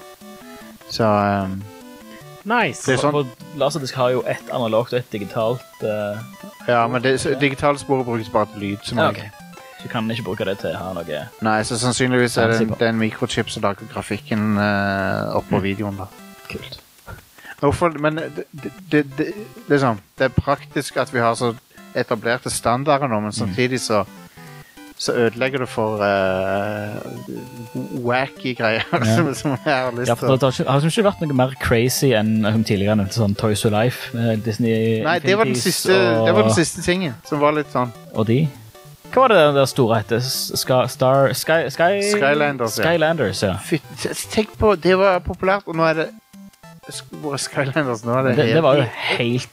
S1: Så ehm,
S4: Nice.
S1: Det er sånn-
S2: For- for Laserdisk har jo ett analogt og ett digitalt. eh,
S1: Ja, men det, så digitale sporet brukes bare til lyd. Som
S2: ja,
S1: regel.
S2: ok. Så du kan ikke bruke det til å ha noe
S1: Nei, så sannsynligvis er det en,
S2: Sensible.
S1: det er en mikrochip som lager grafikken eh, oppå videoen. da.
S2: kult.
S1: Hvorfor, men det, det, det, det, liksom, det er sånn, praktisk at vi har så etablerte standarder nå, men samtidig så så ødelegger du for eh, wacky greier som, (laughs) som jeg har lyst
S2: Ja, for
S1: til. å-
S2: det har ikke, har liksom ikke vært noe mer crazy enn som tidligere nevnte sånn Toys to Life. med Disney
S1: Nei, det var, den
S2: Infinities
S1: siste,
S2: og,
S1: det var den siste tingen som var litt sånn
S2: og de. Hva var det den der store hette? Ska, Star Sky, Sky,
S1: Skylanders, ja.
S2: Skylanders, ja.
S1: Fy, tenk på, det var populært, og nå er det Sk- Hvor er Skylanders nå? Er det,
S2: Det, det
S1: helt-
S2: var jo helt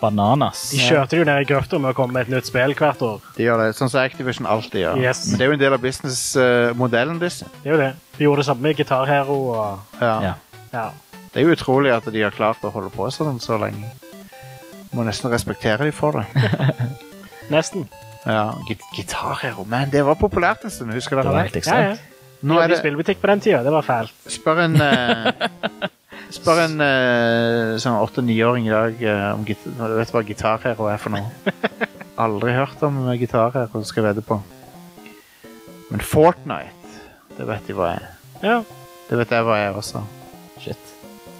S2: bananas.
S4: De kjørte jo ned i grøfta med å komme med et nytt spill hvert år.
S1: De gjør det, sånn som Activision alltid gjør.
S4: Yes.
S1: Men det er jo en del av businessmodellen deres.
S4: Det er jo det. De gjorde det samme med Guitar Hero og
S1: Ja.
S2: Ja.
S4: ja.
S1: Det er jo utrolig at de har klart å holde på sånn så lenge. Må nesten respektere dem for
S2: (laughs)
S1: det.
S4: Nesten.
S1: Ja, git- Gitarhero, man, det var populært en stund. Husker
S2: Det var
S1: dere det?
S2: helt
S4: Ja, ja.
S2: ekstremt.
S1: Nå er
S4: det...
S1: det
S4: spillbutikk på den tida. Det var fælt.
S1: Spør en eh, Spør en eh, sånn åtte-niåring i dag eh, om git du vet hva gitarhero er for noe. Aldri hørt om gitarhero, skal jeg vedde på. Men Fortnite, det vet de hva er.
S4: Ja.
S1: Det vet jeg hva jeg er også.
S2: Shit.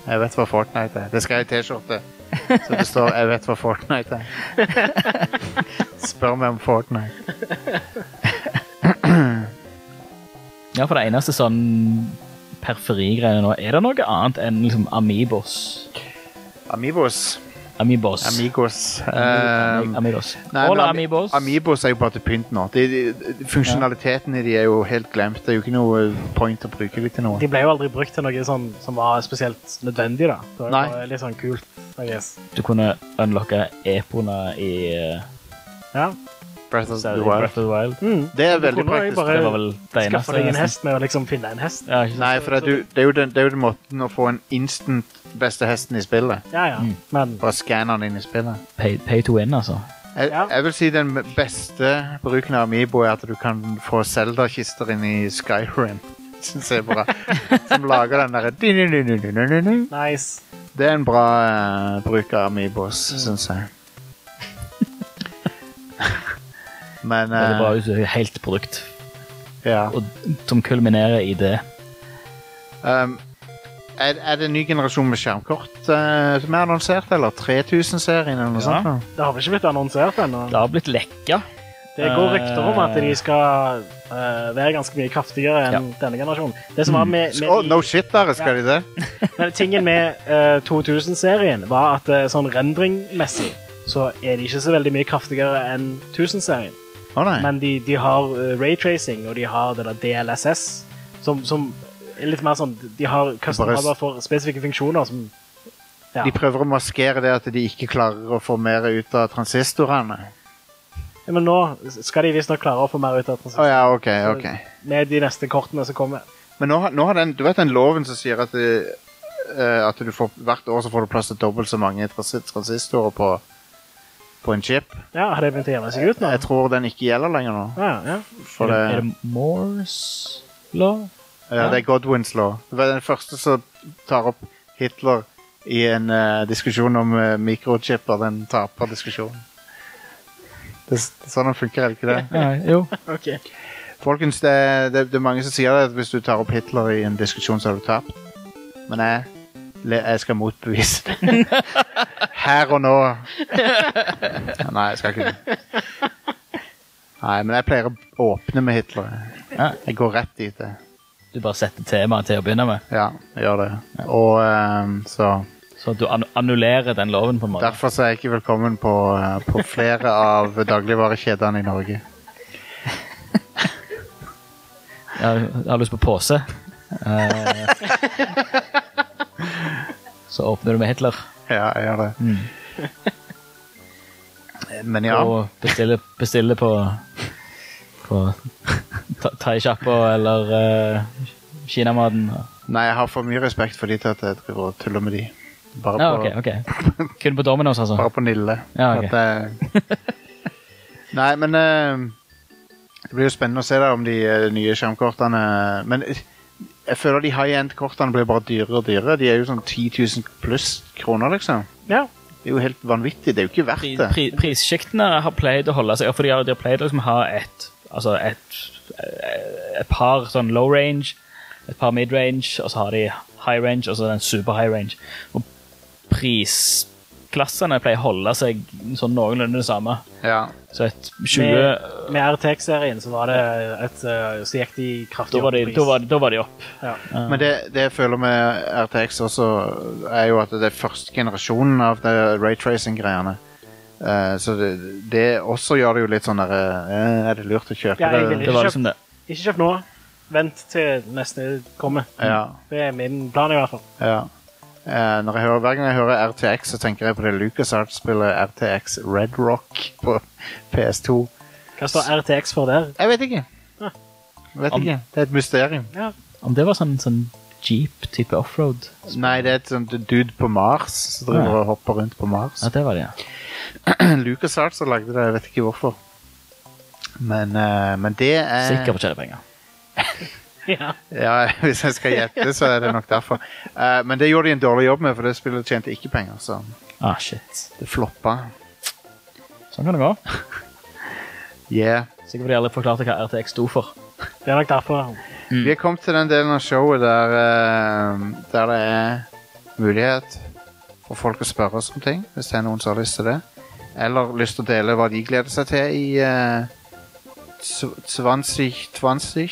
S1: Jeg vet hva Fortnite er. Det skal jeg i T-skjorte. Så det står 'Jeg vet hva Fortnite er'. Spør meg om Fortnite.
S2: Ja, for det eneste sånn periferigreiene nå, er det noe annet enn liksom Amibos?
S1: Amibos.
S2: Amibos.
S1: Amigos.
S2: Ami-
S1: Ehm,
S2: Amigos.
S1: Nei,
S2: Hola,
S1: men Ami-
S2: Amibos.
S1: Amiibos er jo bare til pynt nå. De, de, de, funksjonaliteten i de er jo helt glemt. Det er jo ikke noe eh, point å bruke de til noe.
S4: De ble jo aldri brukt til noe sånn som var spesielt nødvendig, da. Det var jo
S1: Nei.
S4: bare litt sånn kult. I guess.
S2: Du kunne unlocke epoene i, eh,
S4: Ja.
S1: Breath of the
S2: i
S1: Wild.
S2: Breath of the Wild.
S4: Mm.
S1: Det er veldig
S4: kunne jeg
S1: praktisk.
S4: bare-
S2: Det var vel det eneste.
S4: Skaffe deg en
S2: nesten.
S4: hest med å liksom finne en hest.
S2: Ja, ikke sant?
S1: Nei, for det er, jo- det, er jo den, det er jo den måten å få en instant beste hesten i spillet.
S4: Ja, ja.
S2: Mm.
S4: Men
S1: Bare skanne den inn i spillet.
S2: Pay, pay to win, altså.
S1: Jeg,
S4: Ja.
S1: jeg vil si den beste bruken av Amiibo er at du kan få Zelda-kister inn i Skyrim. (laughs) Syns jeg er bra. Som lager den derre
S4: nice.
S1: Det er en bra eh, bruk av Amibos, syns jeg. (laughs) Men
S2: Det er
S1: eh,
S2: bare et helt produkt
S1: ja.
S2: og, som kulminerer i det.
S1: um, er, er det en ny generasjon med skjermkort eh, som er annonsert, eller 3000-serien eller noe
S2: Ja.
S1: sånt? nå?
S4: Det har vel ikke blitt annonsert ennå.
S2: Det har blitt lekka.
S4: Det går rykter om at de skal eh, være ganske mye kraftigere enn denne generasjonen. Det som var med, med
S1: Mm. Å,
S4: de-
S1: no shit, dere! Skal de det?
S4: Men tingen med eh, 2000-serien var at eh, sånn rendringmessig så er de ikke så veldig mye kraftigere enn 1000-serien.
S1: Å nei.
S4: Men de, de har eh, raytracing, og de har det der DLSS, som, som er litt mer sånn De har customer for spesifikke funksjoner som ja.
S1: De prøver å maskere det at de ikke klarer å få mer ut av transistorene.
S4: Ja, Men nå skal de visstnok klare å få mer ut av
S1: Å
S4: transistor
S1: ja, OK. ok.
S4: med de neste kortene som kommer.
S1: Men nå, har- nå har den, du vet den loven som sier at, det, eh, at du får, hvert år så får du plass til dobbelt så mange transi- transistorer på, på en chip?
S4: Ja, Har de begynt å jevne seg ut nå?
S1: Jeg tror den ikke gjelder lenger nå.
S4: Ja, ja.
S1: For
S2: Er
S1: det,
S2: det Moores law?
S1: ja, det er Godwins law. Det var den første som tar opp Hitler i en eh, diskusjon om uh, mikrochipper. Den taper diskusjonen. Det, s- sånn funker, er det ikke det?
S2: Nei, jo.
S4: Ok.
S1: Folkens, det, er- det, det er mange som sier det at hvis du tar opp Hitler i en diskusjon, så har du tapt. Men jeg, le- jeg skal motbevise det. Her og nå. Nei, jeg skal ikke det. Nei, men jeg pleier å åpne med Hitler.
S2: Ja.
S1: Jeg går rett dit. jeg.
S2: Du bare setter temaet til å begynne med.
S1: Ja, jeg gjør det. Og ehm, så
S2: Så at du an annullerer den loven, på en måte.
S1: Derfor så er jeg ikke velkommen på, eh, på flere av dagligvarekjedene i Norge.
S2: Ja, Jeg har lyst på pose. Eh, så åpner du med Hitler
S1: Ja, jeg gjør det. Men ja.
S2: og bestiller, bestiller på På (laughs) tha- thaisjappa eller eh, kinamaten.
S1: Nei, jeg har for mye respekt for de til at jeg driver og tuller med de. Bare,
S2: Ja,
S1: på,
S2: OK. ok. Kun på Domino's, altså?
S1: bare på Nille.
S2: Ja, ok.
S1: At jeg... (laughs) Nei, men eh, Det blir jo spennende å se da om de eh, nye skjermkortene Men eh, jeg føler de high-end-kortene blir bare dyrere og dyrere. De er jo sånn 10 000 pluss kroner, liksom.
S4: Ja.
S1: Det er jo helt vanvittig. Det er jo ikke verdt
S2: Pri,
S1: det.
S2: pri, prissjiktene har pleid å holde seg, for de har, de har pleid å liksom ha et, altså et, et par sånn low range, et par mid range, og så har de high range, og så den super high range. Og pris grafikklassene pleier å holde seg sånn noenlunde det samme.
S1: Ja.
S2: Så et 20
S4: Med, med RTX-serien så var det et eh, Så gikk de kraftig
S2: da var, de,
S4: i pris.
S2: da, var, da var de opp.
S4: Ja.
S1: Men det, det jeg føler med RTX også, er jo at det er første generasjonen av det raytracing-greiene. Eh, så det, det også gjør det jo litt sånn der eh, Er det lurt å kjøpe
S4: Ja, jeg vil
S1: det?
S2: Det var liksom det.
S4: Ikke kjøp nå. Vent til neste kommer.
S1: Ja,
S4: Det er min plan, i hvert fall.
S1: ja. Eh, når jeg hører, hver gang jeg hører RTX, så tenker jeg på det LucasArts-spillet RTX Red Rock på PS2.
S4: Hva står RTX for der?
S1: Jeg vet ikke.
S4: Ah.
S1: Vet
S2: Om-
S1: ikke. Det er et mysterium.
S4: Ja.
S2: Om det var sånn, sånn jeep-type offroad
S1: Nei, det er et sånt dude på Mars som driver
S2: Ja.
S1: og hopper rundt på Mars.
S2: Ja, det var det, ja.
S1: (laughs) LucasArts har lagd det, jeg vet ikke hvorfor. Men, eh, men det er
S2: Sikker på å tjene penger.
S4: ja.
S1: Ja, (laughs) Hvis jeg skal gjette, så er det nok derfor. Eh, men det gjorde de en dårlig jobb med, for det spillet tjente ikke penger. Så
S2: Ah, shit.
S1: det floppa.
S2: Sånn kan det gå.
S1: Yeah.
S2: Sikkert fordi alle forklarte hva RTX sto for.
S4: Det er nok derfor.
S1: Vi er kommet til den delen av showet der, eh, der det er mulighet for folk å spørre oss om ting, hvis det er noen som har lyst til det. Eller lyst til å dele hva de gleder seg til i eh, tw- 2020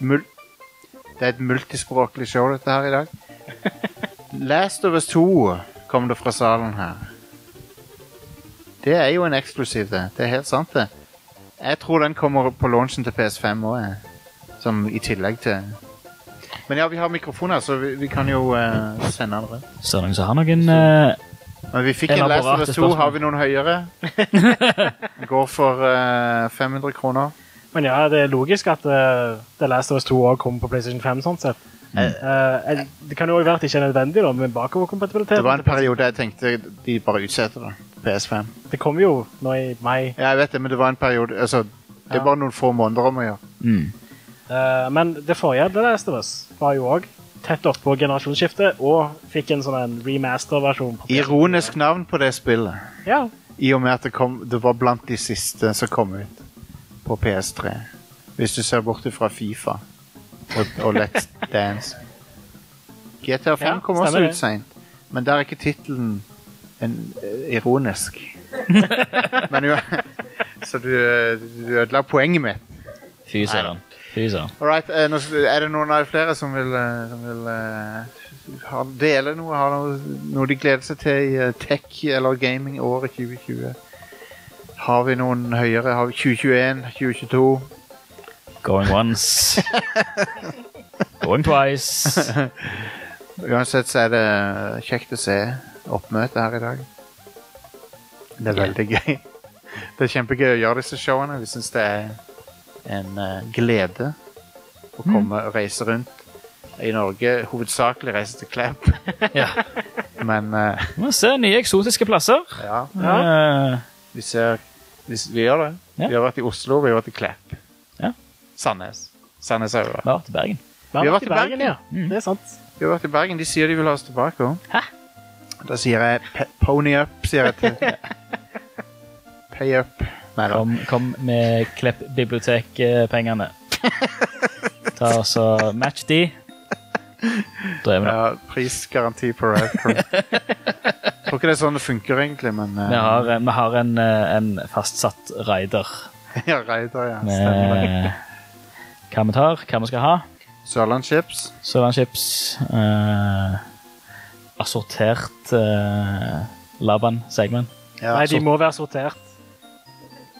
S1: Mul Det er et multispråklig show, dette her i dag. Last of Us 2 kom det fra salen her. Det er jo en eksklusiv, det. Det er helt sant, det. Jeg tror den kommer på launchen til PS5 òg, jeg. Som i tillegg til Men ja, vi har mikrofon her, så vi, vi kan jo eh, sende den rundt.
S2: Så er det noen som har noen eh,
S1: Men vi fikk en Last of
S2: Elaborate
S1: Us 2.
S2: spørsmål.
S1: Har vi noen høyere? (laughs) Den Går for eh, 500 kroner.
S4: Men ja, det er logisk at eh, The Last of Us 2 også kommer på PlayStation 5. sånn sett. Eh, eh, det kan jo også være at det ikke er nødvendig da, med bakoverkompatibilitet.
S1: Det var en periode jeg tenkte de bare utsetter det. PS5.
S4: Det kommer jo nå i mai.
S1: Ja, jeg vet det, men det var en periode Altså, det er
S4: Ja.
S1: bare noen få måneder om å gjøre.
S2: mm.
S4: Eh, men det forrige The Last of Us var jo òg tett oppå generasjonsskiftet og fikk en sånn en remaster-versjon. på PlayStation.
S1: Ironisk navn på det spillet.
S4: Ja.
S1: I og med at det, kom, det var blant de siste som kom ut på PS3. Hvis du ser bort fra Fifa og, og
S4: (laughs)
S1: Let's Dance. GTA 5
S4: Ja,
S1: kom også
S4: stemmer
S1: ut
S4: det.
S1: seint, men der er ikke tittelen en- eh, ironisk.
S4: (laughs)
S1: men jo, (laughs) så du, eh, du ødela poenget mitt.
S2: Fy søren. Fy søren.
S1: All right, eh, nå s- er det noen av flere som vil, eh, som vil eh, ha, dele noe? Har noe, noe de gleder seg til i eh, tech- eller gaming-året 2020? Har vi noen høyere? Har vi 2021? 2022?
S2: Going (laughs) once. Going twice.
S1: Uansett så er det kjekt å se oppmøtet her i dag. Det er veldig gøy. Det er kjempegøy å gjøre disse showene. Vi syns det er en eh, glede å
S2: Mm.
S1: komme og reise rundt i Norge. Hovedsakelig reise til Klepp,
S2: (laughs) Ja.
S1: men eh,
S2: Vi må se nye eksotiske plasser. Eh,
S1: ja.
S2: Ja.
S1: Vi ser Vi, s- vi gjør det.
S2: Ja.
S1: Vi har vært i Oslo, vi har vært i Klepp.
S2: Ja.
S1: Sandnes. Sandnes har vi vært.
S2: Vi har vært i Bergen.
S4: Vi har vært i Bergen, ja.
S2: Mm.
S4: Det er sant.
S1: Vi har vært i Bergen. De sier de vil ha oss tilbake òg. Da sier jeg pe- pony up, sier jeg til Pay up. Nei da.
S2: Kom, kom med Klepp (laughs) bibliotek-pengene. Ta og så match de. Da er vi der.
S1: Ja, prisgaranti på Radcrow. Tror ikke det er sånn det funker, egentlig, men eh,
S2: Vi har, vi har en, eh, en fastsatt rider
S1: (laughs) ja, Reidar, ja. Stemmer det.
S2: med hva vi tar, hva vi skal ha.
S1: Sørlandschips.
S2: Sørlandschips. Eh, assortert eh, Laban Segman.
S1: Ja,
S4: Nei, de
S1: så-
S4: må være sortert.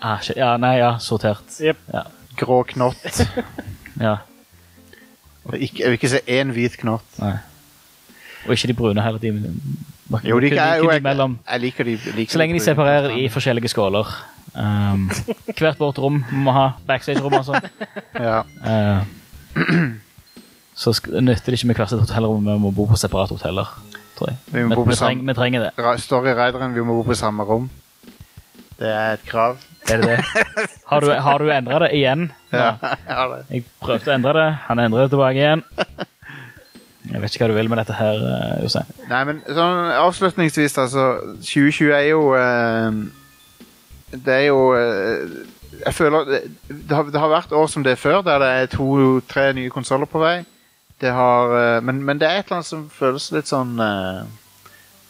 S2: Ah, shit. ja, nei, ja, sortert.
S4: Jep.
S2: Ja.
S1: Grå knott.
S2: ja.
S1: Ikke, jeg vil ikke se én hvit knott.
S2: Nei. Og ikke de brune heller. De,
S1: Jo, de
S2: kun-
S1: kan,
S2: kun
S1: jo, jeg,
S2: imellom.
S1: jeg liker de liker
S2: Så lenge de separerer i forskjellige skåler.
S1: (laughs)
S2: Um, hvert vårt rom må ha backstage-rom. Altså.
S1: ja.
S2: Uh, så sk nytter det ikke med hvert sitt hotellrom, vi må bo på separate hoteller. Tror jeg.
S1: Vi må bo på
S2: vi,
S1: samme-
S2: treng, vi trenger det.
S1: Ra- Story Raideren, vi må bo på samme rom. Det er et krav.
S2: Er det det? Har du, har du endra det igjen?
S1: (laughs) Ja, ja det.
S2: Jeg prøvde å endre det, han endret det tilbake igjen. Jeg vet ikke hva du vil med dette her, eh, Jostein.
S1: Nei, men sånn avslutningsvis, altså 2020 er jo eh, Det er jo eh, Jeg føler det, det, har, det har vært år som det er før, der det er to-tre nye konsoller på vei. Det har eh, men, men det er et eller annet som føles litt sånn eh,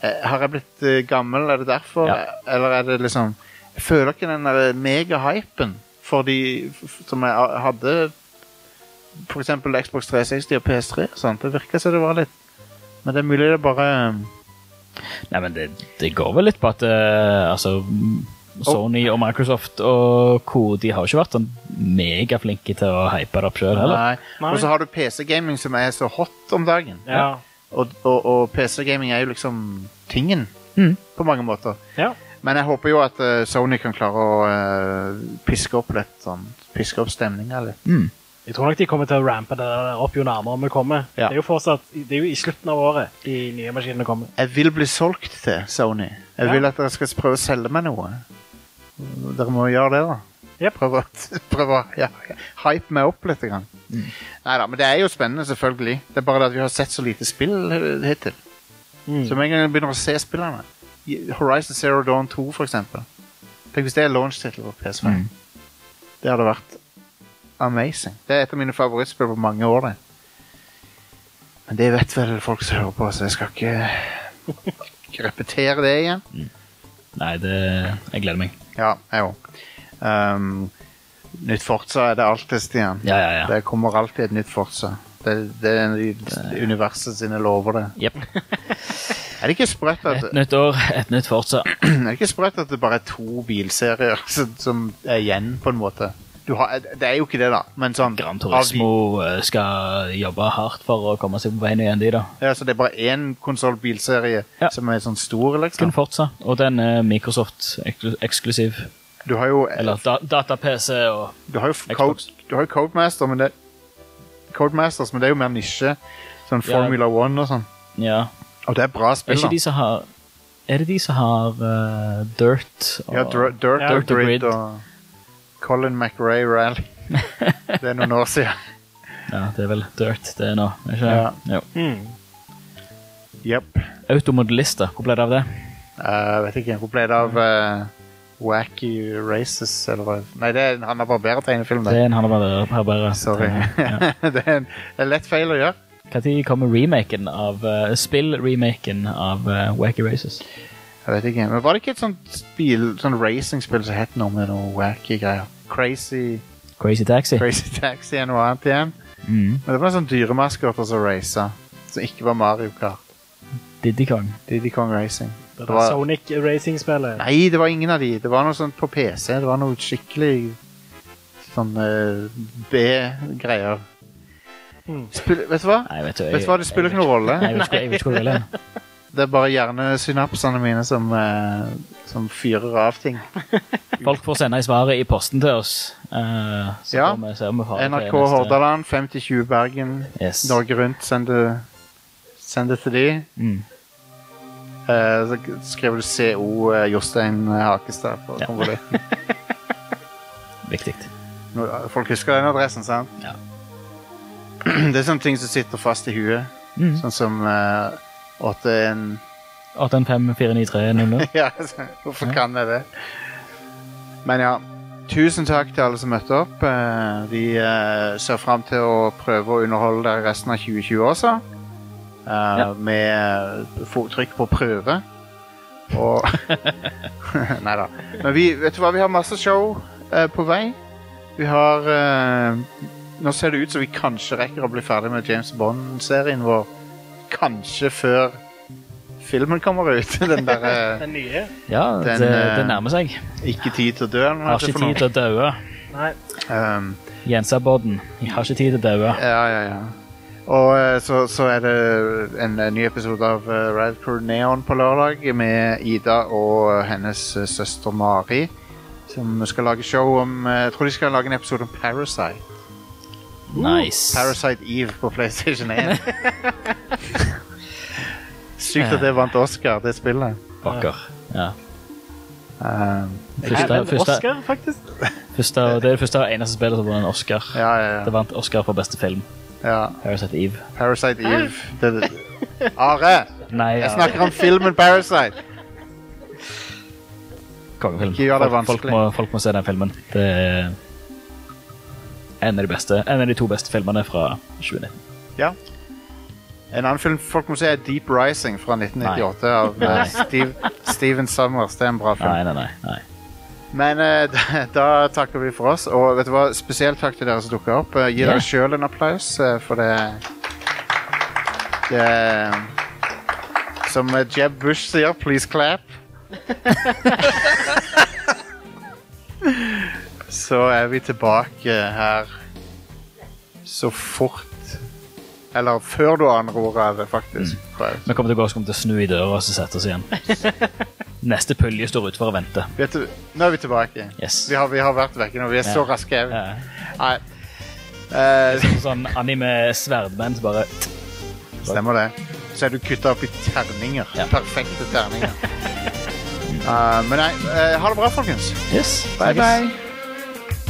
S1: eh, Har jeg blitt eh, gammel, er det derfor?
S2: Ja.
S1: Eller er det liksom Jeg føler ikke den der eh, megahypen for de f- som jeg a- hadde For eksempel Xbox 360 og PS3. Sant? Det virker som det var litt Men det er mulig det bare eh,
S2: Nei, men det, det går vel litt på at eh, altså, mm, Sony og Microsoft og co. De har jo ikke vært sånn megaflinke til å hype det opp sjøl heller.
S1: Nei.
S4: Nei.
S1: Og så har du PC-gaming som er så hot om dagen.
S4: Ja.
S1: Og, og, og PC-gaming er jo liksom tingen
S2: Mhm.
S1: på mange måter.
S4: ja.
S1: Men jeg håper jo at eh, Sony kan klare å eh, piske opp litt sånn, piske opp stemninga litt.
S4: Jeg tror nok de kommer til å rampe det der opp jo nærmere vi kommer.
S1: Ja.
S4: Det er jo fortsatt, det er jo i slutten av året de nye maskinene kommer.
S1: Jeg vil bli solgt til Sony. Jeg
S4: Ja.
S1: vil at dere skal prøve å selge meg noe. Dere må gjøre det, da.
S4: Jep.
S1: Prøve å, (laughs) prøve å ja, hype meg opp litt. Grann.
S4: Mm.
S1: Neida, men det er jo spennende, selvfølgelig. Det er bare det at vi har sett så lite spill eh, hittil.
S4: Mm.
S1: Så med en gang jeg begynner å se spillene i- Horizon Zero Dawn 2, for eksempel. Tenk hvis det er launch-tittel på PS5.
S2: Mm.
S1: Det hadde vært amazing. Det er et av mine favorittspill på mange år, det. Men det vet vel folk som hører på, så jeg skal ikke, ikke repetere det igjen.
S2: Nei, det, jeg gleder meg.
S1: Ja, jeg òg. Um, nytt Forza er det alltid, Stian.
S2: Ja, ja, ja.
S1: Det kommer alltid et nytt Forza. Det, det er de- universet sine lover, det.
S2: Jep.
S1: Er det ikke sprøtt at
S2: Et nytt år, et nytt Forza.
S1: Det (clears throat) er ikke sprøtt at det bare er to bilserier (laughs) som, som er igjen, på en måte. Du har, det er jo ikke det, da, men sånn
S2: Gran
S1: av
S2: Turismo eh, skal jobbe hardt for å komme seg på veien igjen, de, da.
S1: de- Ja, så det er bare én konsollbilserie
S2: Ja.
S1: som er sånn stor, liksom.
S2: Kun Forza. Og den er Microsoft-eksklusiv.
S1: Du har jo,
S2: Eller da, data-PC og
S1: du har jo, f- code, du har jo Codemaster, men det, Codemasters, men det er jo mer nisje. Sånn
S2: Ja.
S1: Formula One og sånn.
S2: Ja.
S1: Og det er bra
S2: Er
S1: spill,
S2: ikke
S1: da.
S2: de som har Er det de som har eh, Dirt? Og,
S1: Ja, Dr- Dirt
S4: Ja,
S1: og
S2: Dirt og
S1: Grid
S2: Grid.
S1: og Colin McRae
S2: (laughs)
S1: Rally. Det er noen år siden.
S2: Ja, det er vel Dirt det er nå, er ikke det? Jo.
S4: Mm.
S1: Jepp.
S2: Automodelister, hvor ble det av det?
S1: Eh, vet ikke, hvor ble det av eh, Wacky Races, eller hva? Nei, det er en Hanna Barbera tegnefilm,
S2: Det
S1: det.
S2: er en han har bare her bare
S1: Sorry. (laughs) det er en det er lett feil å gjøre.
S2: Når kommer remaken av eh, Spill-remaken av eh, Wacky Races?
S1: Jeg vet ikke, men var det ikke et sånt spill, sånn racing-spill som het noe med noe wacky greier? Crazy,
S2: Crazy Taxi?
S1: crazy
S2: (laughs)
S1: Taxi og noe annet igjen.
S2: Mm.
S1: Men det var en sånn dyremaskot som racet, som ikke var Mario Kart.
S2: Diddy Kong.
S1: Diddy Kong Racing.
S4: Det
S1: Det
S4: der
S1: var-
S4: Sonic Racing-spillet.
S1: Nei, det var ingen av de. Det var noe sånt på PC. Det var noe skikkelig sånn eh, B-greier.
S4: Mm.
S1: Spill, vet du hva?
S2: Nei, vet du
S1: Vet du hva, det spiller ikke noen rolle.
S2: Nei, jeg vet ikke, jeg vet ikke hvor det er.
S1: Det er bare hjernesynapsene mine som, eh, som fyrer av ting.
S2: Folk får sende i svaret i posten til oss. eh, så
S1: Ja.
S2: får vi se om vi får det
S1: NRK
S2: neste-
S1: Hordaland, 5020 Bergen,
S2: Yes.
S1: Norge Rundt. Send det, send det til de.
S2: Mm.
S1: Eh, så k- skriver du CO eh, Jostein Hakestad på
S2: Ja.
S1: konvolutten.
S2: Viktig.
S1: Nå- eh, Folk husker den adressen, sant?
S2: Ja.
S1: (clears throat) Det er sånne ting som sitter fast i huet.
S2: Mm.
S1: Sånn som eh, at det er en
S2: 81549300.
S1: (laughs) Ja, altså, hvorfor kan jeg det? Men ja, tusen takk til alle som møtte opp. Eh, Vi eh, ser fram til å prøve å underholde dere resten av 2020 også. Eh,
S2: Ja.
S1: Med eh, få- trykk på prøve. Og (laughs) Nei da. Men vi, vet du hva, vi har masse show eh, på vei. Vi har eh, Nå ser det ut som vi kanskje rekker å bli ferdig med James Bond-serien vår. Kanskje før filmen kommer ut. (laughs) Den der eh,
S4: Den nye?
S2: Ja,
S1: Den,
S2: det,
S1: eh,
S2: det nærmer seg.
S1: Ikke tid til å dø, eller hva
S2: Har
S1: heter det
S2: ikke
S1: for noe?
S2: tid til å daue.
S4: Nei.
S1: Um,
S2: Jensabodden. Jeg har ikke tid til å daue.
S1: ja, ja, ja. Og eh, så, så er det en eh, ny episode av eh, Red Crew Neon på lørdag med Ida og eh, hennes eh, søster Mari. Som skal lage show om eh, Jeg tror de skal lage en episode om Parasite.
S2: Nice.
S1: Parasite Eve på PlayStation
S2: (laughs)
S1: 1. Sykt at det vant Oscar, det spillet.
S2: Pokker. Ja.
S1: Um,
S2: Første,
S4: Nei, men
S2: første,
S4: Oscar, faktisk.
S2: første, det er det første og eneste spillet som vant en Oscar.
S1: ja, ja,
S2: Det
S1: ja.
S2: vant Oscar for beste film.
S1: ja.
S2: Parasite Eve.
S1: Parasite Eve. Det, Are!
S2: Nei,
S1: Jeg
S2: ja,
S1: snakker om filmen Parasite.
S2: kongefilm.
S1: Ikke gjør det
S2: Folk, folk,
S1: vanskelig.
S2: må, folk må se den filmen. Det er en av de beste En av de to beste filmene fra 2019.
S1: Ja. En annen film folk må se, er Deep Rising fra 1998 av eh,
S2: Nei.
S1: Steve, Steven Summers. Det er en bra film.
S2: Nei, nei, nei. nei.
S1: Men eh, (laughs) da, da takker vi for oss. Og vet du hva, spesielt takk til dere som dukka opp. Eh, gi
S2: Ja.
S1: dere sjøl en applaus, eh, for det, det Som eh, Jeb Bush sier, 'please clap'. (laughs) Så er vi tilbake her så fort Eller før du aner ordet av det, faktisk. tror jeg.
S2: Vi kommer til å gå og så kommer vi til å snu i døra og så sette oss
S1: (laughs)
S2: igjen. Neste pølje står utenfor og venter.
S1: Vet du, nå er vi tilbake.
S2: Yes.
S1: Vi har, vi har vært vekke nå. Vi er så
S2: Ja.
S1: raske. er vi.
S2: Ja.
S1: Nei. Eh,
S2: Sånn anime-sverdmenn som bare
S1: Stemmer det. Så er du kutta opp i terninger.
S2: Ja.
S1: Perfekte (laughs) terninger. Eh, men nei, eh, ha det bra, folkens.
S2: Yes.
S1: Bye,
S2: snakkes.
S1: bye.